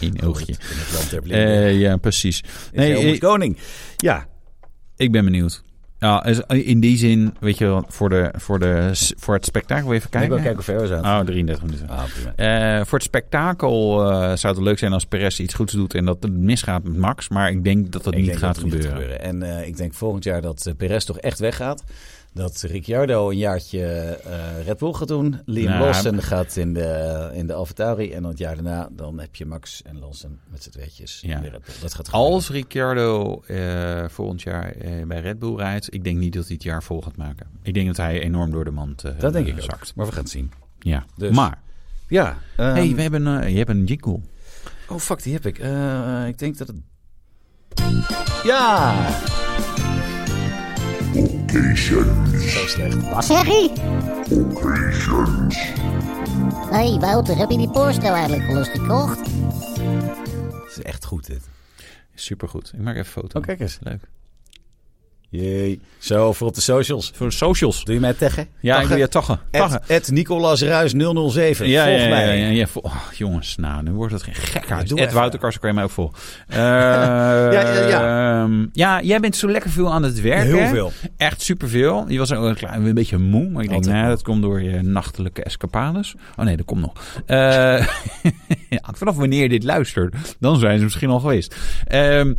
[SPEAKER 1] Eén oogje.
[SPEAKER 3] In het land der blinden.
[SPEAKER 1] Eh, ja, precies.
[SPEAKER 3] nee,
[SPEAKER 1] Nee, ik,
[SPEAKER 3] koning. Ja.
[SPEAKER 1] ik ben benieuwd. Ja, is- in die zin, weet je wel, voor, de, voor, de, voor het spektakel even
[SPEAKER 3] Kijk,
[SPEAKER 1] kijken.
[SPEAKER 3] ik wil kijken hoe ver we zijn.
[SPEAKER 1] Oh, 33 minuten.
[SPEAKER 3] Ah, prima.
[SPEAKER 1] Eh, voor het spektakel eh, zou het leuk zijn als Perez iets goeds doet en dat het misgaat met Max. Maar ik denk dat dat
[SPEAKER 3] Ik
[SPEAKER 1] niet
[SPEAKER 3] denk
[SPEAKER 1] gaat
[SPEAKER 3] dat het
[SPEAKER 1] gebeuren.
[SPEAKER 3] En eh, ik denk volgend jaar dat eh, Perez toch echt weggaat. dat Ricciardo een jaartje eh, Red Bull gaat doen. Liam
[SPEAKER 1] Nou,
[SPEAKER 3] Lawson gaat in de, in de Alfa Tauri. En dan het jaar daarna, dan heb je Max en Lawson met z'n tweetjes
[SPEAKER 1] Ja.
[SPEAKER 3] in de Red Bull. Dat gaat gebeuren.
[SPEAKER 1] Als Ricciardo eh, volgend jaar eh, bij Red Bull rijdt, ik denk niet dat hij het jaar vol gaat maken. Ik denk dat hij enorm door de mand eh,
[SPEAKER 3] Dat denk ik ook.
[SPEAKER 1] zakt.
[SPEAKER 3] Maar we gaan het zien.
[SPEAKER 1] Ja.
[SPEAKER 3] Dus.
[SPEAKER 1] Maar,
[SPEAKER 3] Ja. ehm,
[SPEAKER 1] hey, we hebben, eh, je hebt een jingle.
[SPEAKER 3] Oh, fuck, die heb ik. Eh, ik denk dat het... Ja! Zo slecht.
[SPEAKER 5] Wat zeg je? Hé hey Wouter, heb je die Porsche nou eigenlijk al eens gekocht?
[SPEAKER 3] Het is echt goed, dit.
[SPEAKER 1] Supergoed. Ik maak even een foto.
[SPEAKER 3] Oh, kijk eens.
[SPEAKER 1] Leuk.
[SPEAKER 3] Jee. Zo, voor op de socials.
[SPEAKER 1] Voor de socials.
[SPEAKER 3] Doe je mij taggen?
[SPEAKER 1] Ja, ik
[SPEAKER 3] Taggen?
[SPEAKER 1] wil je taggen. Taggen.
[SPEAKER 3] Het, het Nicolas Ruis 007.
[SPEAKER 1] Ja,
[SPEAKER 3] Volg
[SPEAKER 1] ja,
[SPEAKER 3] mij.
[SPEAKER 1] ja, ja, ja, vol- Ach, jongens, nou, nu wordt het geen gekhuis.
[SPEAKER 3] doe
[SPEAKER 1] Ed
[SPEAKER 3] even.
[SPEAKER 1] Wouterkars kan je mij ook vol.
[SPEAKER 3] Ja, ja, ja.
[SPEAKER 1] ja, jij bent zo lekker veel aan het werken.
[SPEAKER 3] Heel
[SPEAKER 1] hè?
[SPEAKER 3] veel.
[SPEAKER 1] Echt superveel. Je was ook een, klein, een beetje moe, maar ik denk,
[SPEAKER 3] Altijd
[SPEAKER 1] nou,
[SPEAKER 3] moe.
[SPEAKER 1] dat komt door je nachtelijke escapades. Oh nee, dat komt nog. Eh, ja, vanaf wanneer je dit luistert, dan zijn ze misschien al geweest. Ehm,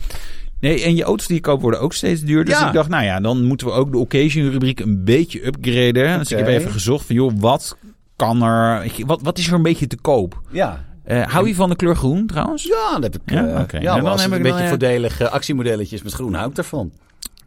[SPEAKER 1] nee, en je auto's die je koopt worden ook steeds duurder. Dus
[SPEAKER 3] Ja.
[SPEAKER 1] ik dacht, nou ja, dan moeten we ook de occasion-rubriek een beetje upgraden. Dus ik heb
[SPEAKER 3] Oké.
[SPEAKER 1] even gezocht van, joh, wat kan er... ik- Wat, wat is er een beetje te koop?
[SPEAKER 3] Ja.
[SPEAKER 1] Eh, hou je van de kleur groen trouwens?
[SPEAKER 3] Ja, dat heb ik.
[SPEAKER 1] Ja?
[SPEAKER 3] Ja,
[SPEAKER 1] Oké.
[SPEAKER 3] ja
[SPEAKER 1] En
[SPEAKER 3] maar
[SPEAKER 1] dan
[SPEAKER 3] als
[SPEAKER 1] heb
[SPEAKER 3] het
[SPEAKER 1] ik wel,
[SPEAKER 3] een beetje
[SPEAKER 1] ja.
[SPEAKER 3] voordelige actiemodelletjes met groen. Hou ik daarvan.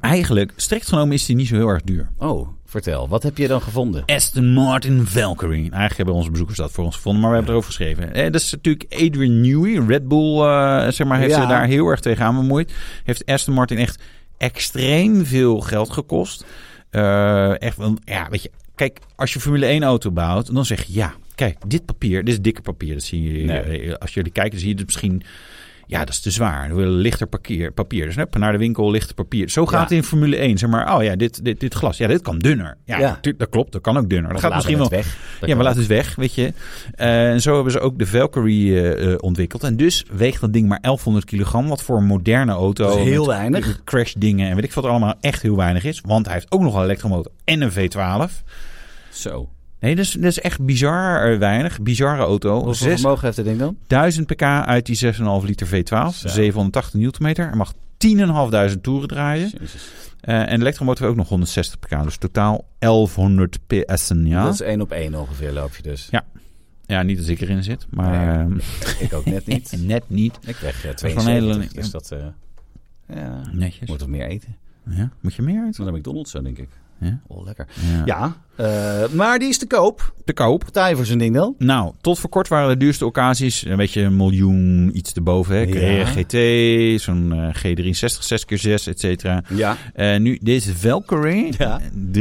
[SPEAKER 1] Eigenlijk, strikt genomen is die niet zo heel erg duur.
[SPEAKER 3] Oh, vertel. Wat heb je dan gevonden?
[SPEAKER 1] Aston Martin Valkyrie. Eigenlijk hebben onze bezoekers dat voor ons gevonden, maar we hebben het erover geschreven. Eh, dat is natuurlijk Adrian Newey. Red Bull eh, zeg maar, heeft
[SPEAKER 3] Ja.
[SPEAKER 1] zich daar heel erg tegenaan bemoeid. Heeft Aston Martin echt extreem veel geld gekost. Eh, echt, wel- ja, weet je, kijk, als je Formule 1 auto bouwt, dan zeg je ja, kijk, dit papier, dit is dikke papier. Dat zien jullie,
[SPEAKER 3] Nee.
[SPEAKER 1] eh, als jullie kijken, zie je het misschien... Ja, dat is te zwaar. We willen lichter parkeer, papier. Dus hup, naar de winkel, lichter papier. Zo gaat
[SPEAKER 3] Ja.
[SPEAKER 1] het in Formule 1. Zeg maar, oh ja, dit, dit, dit glas. Ja, dit kan dunner. Ja,
[SPEAKER 3] Ja.
[SPEAKER 1] tu- dat klopt. Dat kan ook dunner. Dat gaat misschien wel.
[SPEAKER 3] weg.
[SPEAKER 1] Ja, maar laat het weg, weet je. Eh, en zo hebben ze ook de Valkyrie eh, eh, ontwikkeld. En dus weegt dat ding maar 1100 kilogram. Wat voor een moderne auto.
[SPEAKER 3] Dat is heel
[SPEAKER 1] met
[SPEAKER 3] weinig.
[SPEAKER 1] Crashdingen en weet ik wat er allemaal echt heel weinig is. Want hij heeft ook nog een elektromotor en een V12.
[SPEAKER 3] Zo.
[SPEAKER 1] Nee, dat is, dat is echt bizar eh, weinig. Bizarre auto.
[SPEAKER 3] Hoeveel
[SPEAKER 1] Zes-
[SPEAKER 3] vermogen heeft dat ding dan?
[SPEAKER 1] 1000 pk uit die 6,5 liter V12.
[SPEAKER 3] Zo.
[SPEAKER 1] 780 newtonmeter. Hij mag 10.500 toeren draaien. Eh, en de elektromotor heeft ook nog 160 pk. Dus totaal 1100 ps'en, ja.
[SPEAKER 3] Dat is één op één ongeveer loop je dus.
[SPEAKER 1] Ja, niet dat ik erin zit, maar
[SPEAKER 3] Nee.
[SPEAKER 1] ehm,
[SPEAKER 3] Ik ook net niet.
[SPEAKER 1] net niet.
[SPEAKER 3] Ik weg eh,
[SPEAKER 1] is gewoon
[SPEAKER 3] 72,
[SPEAKER 1] heel-
[SPEAKER 3] dus dat... eh ja,
[SPEAKER 1] Netjes.
[SPEAKER 3] moet toch meer eten.
[SPEAKER 1] Ja, moet je meer uit?
[SPEAKER 3] Naar McDonald's zo, denk ik.
[SPEAKER 1] Ja.
[SPEAKER 3] Oh, lekker.
[SPEAKER 1] Ja.
[SPEAKER 3] Ja, eh, maar die is te koop.
[SPEAKER 1] Te koop.
[SPEAKER 3] Betaal je voor zo'n ding dan?
[SPEAKER 1] Nou, tot voor kort waren de duurste occasies een beetje een miljoen iets erboven. Hè?
[SPEAKER 3] Ja.
[SPEAKER 1] GT, zo'n eh, G63, 6x6, et cetera.
[SPEAKER 3] Ja.
[SPEAKER 1] Eh, nu, deze Valkyrie,
[SPEAKER 3] Ja.
[SPEAKER 1] 3.929.950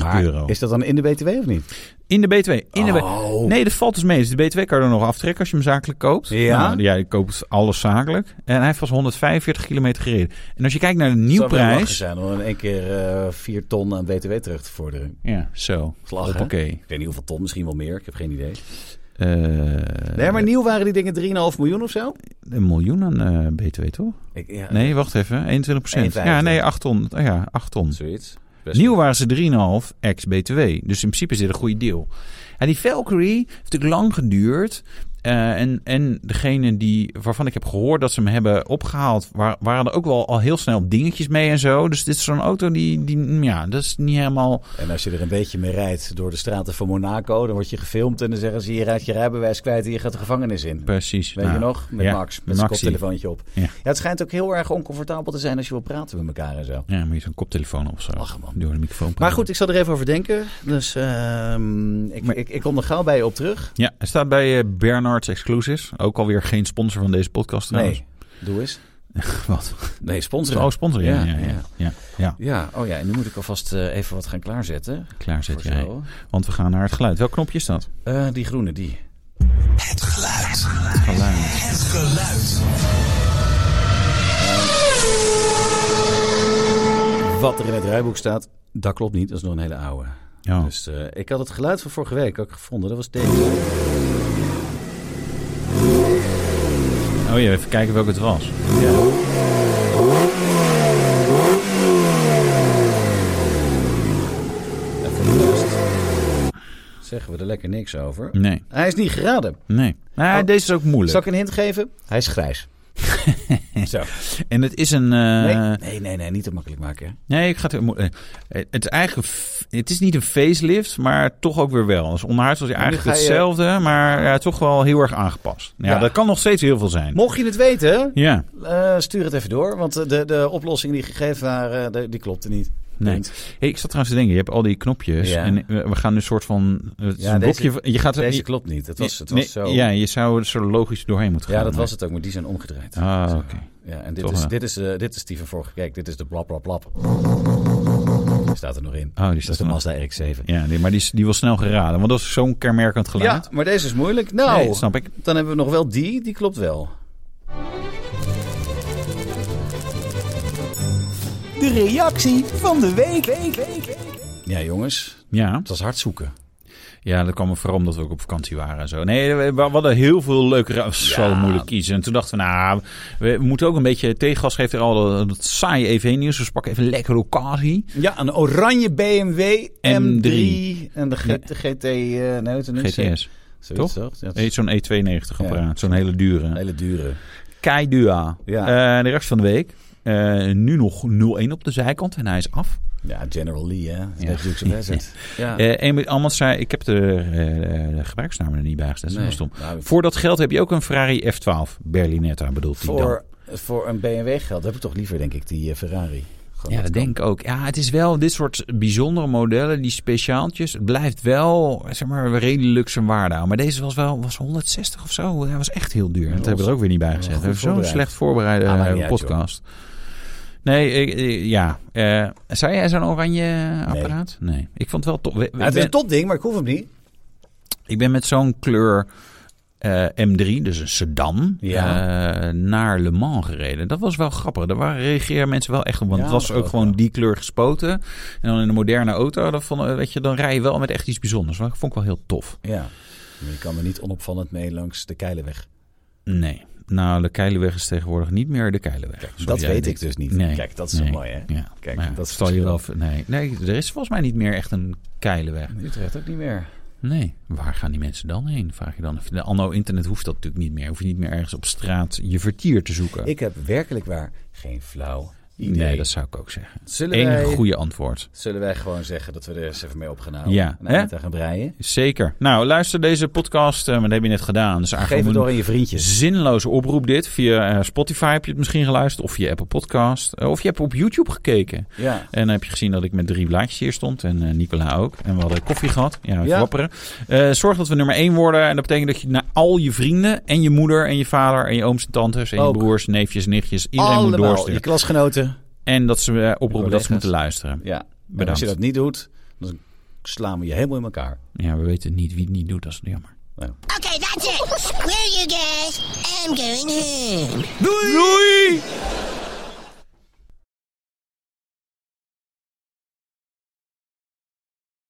[SPEAKER 1] eh, euro.
[SPEAKER 3] Is dat dan in de BTW of niet?
[SPEAKER 1] In de B2. In de
[SPEAKER 3] Oh.
[SPEAKER 1] B- Nee, dat valt dus mee. Dus de B2 kan je er nog aftrekken als je hem zakelijk koopt.
[SPEAKER 3] Ja.
[SPEAKER 1] Nou, ja, je koopt alles zakelijk. En hij heeft pas 145 kilometer gereden. En als je kijkt naar de
[SPEAKER 3] Zou wel lachen
[SPEAKER 1] nieuwprijs...
[SPEAKER 3] zijn om in één keer eh, vier ton aan BTW terug te vorderen.
[SPEAKER 1] Ja, zo.
[SPEAKER 3] Slag, hè?
[SPEAKER 1] Hoppakee.
[SPEAKER 3] Ik weet niet hoeveel ton, misschien wel meer. Ik heb geen idee. Eh,
[SPEAKER 1] Eh,
[SPEAKER 3] Nee, maar nieuw waren die dingen 3,5 miljoen of zo?
[SPEAKER 1] Een miljoen aan eh, B2, toch?
[SPEAKER 3] Ik, ja,
[SPEAKER 1] Nee, wacht even. 21 procent.
[SPEAKER 3] 1,25.
[SPEAKER 1] Ja, nee, 8 ton. Oh ja, 8 ton.
[SPEAKER 3] Zoiets. Best
[SPEAKER 1] Nieuw waren ze 3,5 ex-BTW. Dus in principe is dit een goede deal. En die Valkyrie heeft natuurlijk lang geduurd. Eh, en, en degene die, waarvan ik heb gehoord dat ze hem hebben opgehaald... Waar, waren er ook wel al heel snel dingetjes mee en zo. Dus dit is zo'n auto die, die... mm, Ja, dat is niet helemaal...
[SPEAKER 3] En als je er een beetje mee rijdt door de straten van Monaco, dan word je gefilmd en dan zeggen ze: je rijdt je rijbewijs kwijt en je gaat de gevangenis in.
[SPEAKER 1] Precies.
[SPEAKER 3] Weet
[SPEAKER 1] Nou,
[SPEAKER 3] je nog? Met
[SPEAKER 1] ja,
[SPEAKER 3] Max, met zijn
[SPEAKER 1] Maxie.
[SPEAKER 3] koptelefoontje op.
[SPEAKER 1] Ja.
[SPEAKER 3] Ja. het schijnt ook heel erg oncomfortabel te zijn als je wil praten met elkaar en zo.
[SPEAKER 1] Ja, moet je zo'n koptelefoon op zo.
[SPEAKER 3] Ach, man.
[SPEAKER 1] Door de microfoon.
[SPEAKER 3] Maar goed, ik zal er even over denken. Dus ehm, ik, ik, ik kom er gauw bij je op terug.
[SPEAKER 1] Ja, hij staat bij eh, Bernards Exclusives. Ook alweer geen sponsor van deze podcast trouwens.
[SPEAKER 3] Nee, doe eens.
[SPEAKER 1] Wat?
[SPEAKER 3] Nee,
[SPEAKER 1] Oh,
[SPEAKER 3] sponsoren.
[SPEAKER 1] sponsor. Ja,
[SPEAKER 3] Ja,
[SPEAKER 1] ja, ja. ja.
[SPEAKER 3] ja.
[SPEAKER 1] ja,
[SPEAKER 3] Ja, oh ja, en nu moet ik alvast eh, even wat gaan klaarzetten.
[SPEAKER 1] Klaarzet
[SPEAKER 3] Voor
[SPEAKER 1] jij.
[SPEAKER 3] zo.
[SPEAKER 1] Want we gaan naar het geluid. Welk knopje is dat?
[SPEAKER 3] Eh, die groene, die.
[SPEAKER 1] Geluid.
[SPEAKER 3] Wat er in het rijboek staat, dat klopt niet. Dat is nog een hele oude.
[SPEAKER 1] Ja.
[SPEAKER 3] Dus eh, ik had het geluid van vorige week ook gevonden. Dat was deze.
[SPEAKER 1] Oh ja, even kijken welke het was.
[SPEAKER 3] En voor de rest zeggen we er lekker niks over.
[SPEAKER 1] Nee,
[SPEAKER 3] Hij is niet geraden.
[SPEAKER 1] nee. Nou,
[SPEAKER 3] Oh.
[SPEAKER 1] Deze is ook moeilijk.
[SPEAKER 3] Zal ik een hint geven? Hij is grijs. Zo.
[SPEAKER 1] En het is een... eh,
[SPEAKER 3] Nee, nee, nee, nee, niet te makkelijk maken. Hè?
[SPEAKER 1] Nee, ik ga het. mo- eh, Het is eigenlijk. een f- Het is niet een facelift, maar toch ook weer wel. Dus onderhuids was hij
[SPEAKER 3] Maar nu
[SPEAKER 1] eigenlijk
[SPEAKER 3] ga je-
[SPEAKER 1] hetzelfde, maar ja, toch wel heel erg aangepast. Ja,
[SPEAKER 3] Ja.
[SPEAKER 1] dat kan nog steeds heel veel zijn.
[SPEAKER 3] Mocht je het weten,
[SPEAKER 1] Ja,
[SPEAKER 3] eh, stuur het even door. Want eh, de, de oplossingen die gegeven waren, eh, de- die klopte niet.
[SPEAKER 1] nee.
[SPEAKER 3] Punt.
[SPEAKER 1] Hey, ik zat trouwens te denken, je hebt al die knopjes
[SPEAKER 3] Ja.
[SPEAKER 1] en eh, we gaan nu een soort van eh, het is
[SPEAKER 3] Ja,
[SPEAKER 1] een
[SPEAKER 3] deze-
[SPEAKER 1] blokje. van- Je gaat
[SPEAKER 3] Deze
[SPEAKER 1] je-
[SPEAKER 3] klopt niet. Het was, het
[SPEAKER 1] nee,
[SPEAKER 3] was zo.
[SPEAKER 1] Ja, je zou er zo logisch doorheen moeten gaan.
[SPEAKER 3] Ja, dat was het ook, maar die zijn omgedraaid.
[SPEAKER 1] Ah,
[SPEAKER 3] Zo.
[SPEAKER 1] oké.
[SPEAKER 3] Ja, en dit
[SPEAKER 1] Toch
[SPEAKER 3] is,
[SPEAKER 1] wel.
[SPEAKER 3] dit, is, eh, dit is die van vorige Kijk, dit is de blap, blap, blap. Staat er nog in.
[SPEAKER 1] Oh, die
[SPEAKER 3] dat
[SPEAKER 1] staat
[SPEAKER 3] is de
[SPEAKER 1] er nog.
[SPEAKER 3] Mazda RX-7.
[SPEAKER 1] Ja, nee, maar die, is- die was snel geraden, want dat is zo'n kenmerkend geluid.
[SPEAKER 3] maar deze is moeilijk. Nou,
[SPEAKER 1] Nee, dat snap ik.
[SPEAKER 3] dan hebben we nog wel die. Die klopt wel.
[SPEAKER 4] De reactie van de week. week, week, week.
[SPEAKER 3] Ja, jongens.
[SPEAKER 1] Ja.
[SPEAKER 3] Het was hard zoeken.
[SPEAKER 1] Ja, dat kwam er vooral omdat we ook op vakantie waren en zo. Nee, we, we hadden heel veel leuke... ra- Zo moeilijk kiezen. En toen dachten we, nou, we moeten ook een beetje... Tegengas geeft er al dat, dat saaie EV-nieuws. Dus we pakken even lekker locatie.
[SPEAKER 3] Ja, een oranje BMW M3.
[SPEAKER 1] M3.
[SPEAKER 3] En de, G- de GT... eh nee, het is een
[SPEAKER 1] GTS.
[SPEAKER 3] Zoiets,
[SPEAKER 1] toch?
[SPEAKER 3] toch? Ja, het is
[SPEAKER 1] Eet zo'n E92-apparaat.
[SPEAKER 3] Ja.
[SPEAKER 1] Zo'n hele
[SPEAKER 3] een
[SPEAKER 1] dure.
[SPEAKER 3] hele dure.
[SPEAKER 1] Kei Dua.
[SPEAKER 3] Ja.
[SPEAKER 1] Eh, de rest van de week. Eh, nu nog 0-1 op de zijkant. En hij is af.
[SPEAKER 3] Ja, General Lee, hè? Dat is Dukes of Hazzard. Ja.
[SPEAKER 1] Eh Eamon Ammons zei... Ik heb de, eh, de gebruiksnaam er niet bij gezet. Dat is
[SPEAKER 3] Nee.
[SPEAKER 1] wel stom.
[SPEAKER 3] Nou,
[SPEAKER 1] Voor dat geld heb je ook een Ferrari F12 Berlinetta, bedoelt hij dan.
[SPEAKER 3] voor, voor een BMW geld heb ik toch liever, denk ik, die eh, Ferrari. Gewoon
[SPEAKER 1] Ja, dat denk ik ook. Ja, het is wel dit soort bijzondere modellen, die speciaaltjes. Het blijft wel, zeg maar, redelijk zijn waarde aan. Maar deze was wel was 160 of zo. Hij was echt heel duur. dat hebben we er ook weer niet bij gezet. We hebben zo'n
[SPEAKER 3] voorbereid.
[SPEAKER 1] slecht voorbereide
[SPEAKER 3] Ah, maakt
[SPEAKER 1] eh,
[SPEAKER 3] niet uit,
[SPEAKER 1] podcast. nee, ik, ik- ja. Eh zei jij zo'n oranje apparaat? Nee. Ik vond het wel tof. We- we-
[SPEAKER 3] Ja, het is
[SPEAKER 1] ben-
[SPEAKER 3] een topding, maar ik hoef hem niet.
[SPEAKER 1] ik ben met zo'n kleur eh, M3, dus een sedan,
[SPEAKER 3] Ja.
[SPEAKER 1] eh, naar Le Mans gereden. Dat was wel grappig. Daar waren, reageerden mensen wel echt op. Want
[SPEAKER 3] Ja,
[SPEAKER 1] het was
[SPEAKER 3] dat
[SPEAKER 1] ook
[SPEAKER 3] ook
[SPEAKER 1] gewoon
[SPEAKER 3] wel.
[SPEAKER 1] die kleur gespoten. En dan in een moderne auto, dat vond, eh, weet je, dan rij je wel met echt iets bijzonders. Maar dat vond ik wel heel tof.
[SPEAKER 3] Ja. Maar Je kan er niet onopvallend mee langs de Keilenweg.
[SPEAKER 1] Nee. Nou, de Keilenweg is tegenwoordig niet meer de Keilenweg. Zoals
[SPEAKER 3] dat
[SPEAKER 1] jij
[SPEAKER 3] weet
[SPEAKER 1] denkt.
[SPEAKER 3] ik dus niet.
[SPEAKER 1] Nee.
[SPEAKER 3] Kijk, dat is zo
[SPEAKER 1] Nee.
[SPEAKER 3] mooi, hè?
[SPEAKER 1] Ja.
[SPEAKER 3] Kijk,
[SPEAKER 1] Maar ja,
[SPEAKER 3] dat is
[SPEAKER 1] stel je wel.
[SPEAKER 3] verschil.
[SPEAKER 1] Nee. nee, er is volgens mij niet meer echt een Keilenweg.
[SPEAKER 3] Utrecht ook niet meer.
[SPEAKER 1] Nee, waar gaan die mensen dan heen? Vraag je dan. De anno internet hoeft dat natuurlijk niet meer. Hoef je niet meer ergens op straat je vertier te zoeken.
[SPEAKER 3] Ik heb werkelijk waar geen flauw idee.
[SPEAKER 1] nee, dat zou ik ook zeggen.
[SPEAKER 3] zullen,
[SPEAKER 1] Eén
[SPEAKER 3] wij,
[SPEAKER 1] goede antwoord.
[SPEAKER 3] zullen wij gewoon zeggen dat we er eens even mee op gaan houden?
[SPEAKER 1] Ja,
[SPEAKER 3] En
[SPEAKER 1] hè?
[SPEAKER 3] aan gaan breien?
[SPEAKER 1] Zeker. Nou, luister deze podcast. eh, maar dat heb je net gedaan. Dus
[SPEAKER 3] Geef
[SPEAKER 1] eigenlijk
[SPEAKER 3] het
[SPEAKER 1] een
[SPEAKER 3] door aan je vriendjes.
[SPEAKER 1] zinloze oproep dit. Via eh, Spotify heb je het misschien geluisterd. Of via Apple Podcast. eh, of je hebt op YouTube gekeken.
[SPEAKER 3] Ja.
[SPEAKER 1] En dan heb je gezien dat ik met drie blaadjes hier stond. En eh, Nicola ook. En we hadden koffie gehad. Ja, even
[SPEAKER 3] Ja.
[SPEAKER 1] wapperen. Eh, zorg dat we nummer één worden. En dat betekent dat je naar al je vrienden... en je moeder en je vader en je ooms en tantes... en
[SPEAKER 3] Ook.
[SPEAKER 1] je broers, neefjes, nichtjes... iedereen moet
[SPEAKER 3] Allemaal, je
[SPEAKER 1] doorsturen.
[SPEAKER 3] klasgenoten.
[SPEAKER 1] En dat ze eh, oproepen dat
[SPEAKER 3] Collega's.
[SPEAKER 1] ze moeten luisteren.
[SPEAKER 3] Ja. En
[SPEAKER 1] Bedankt.
[SPEAKER 3] als je dat niet doet, dan slaan we je helemaal in elkaar. Nou,
[SPEAKER 1] Ja, we weten niet wie het niet doet. Dat is jammer.
[SPEAKER 5] Okay, that's it. Screw you guys. I'm going home.
[SPEAKER 1] Doei!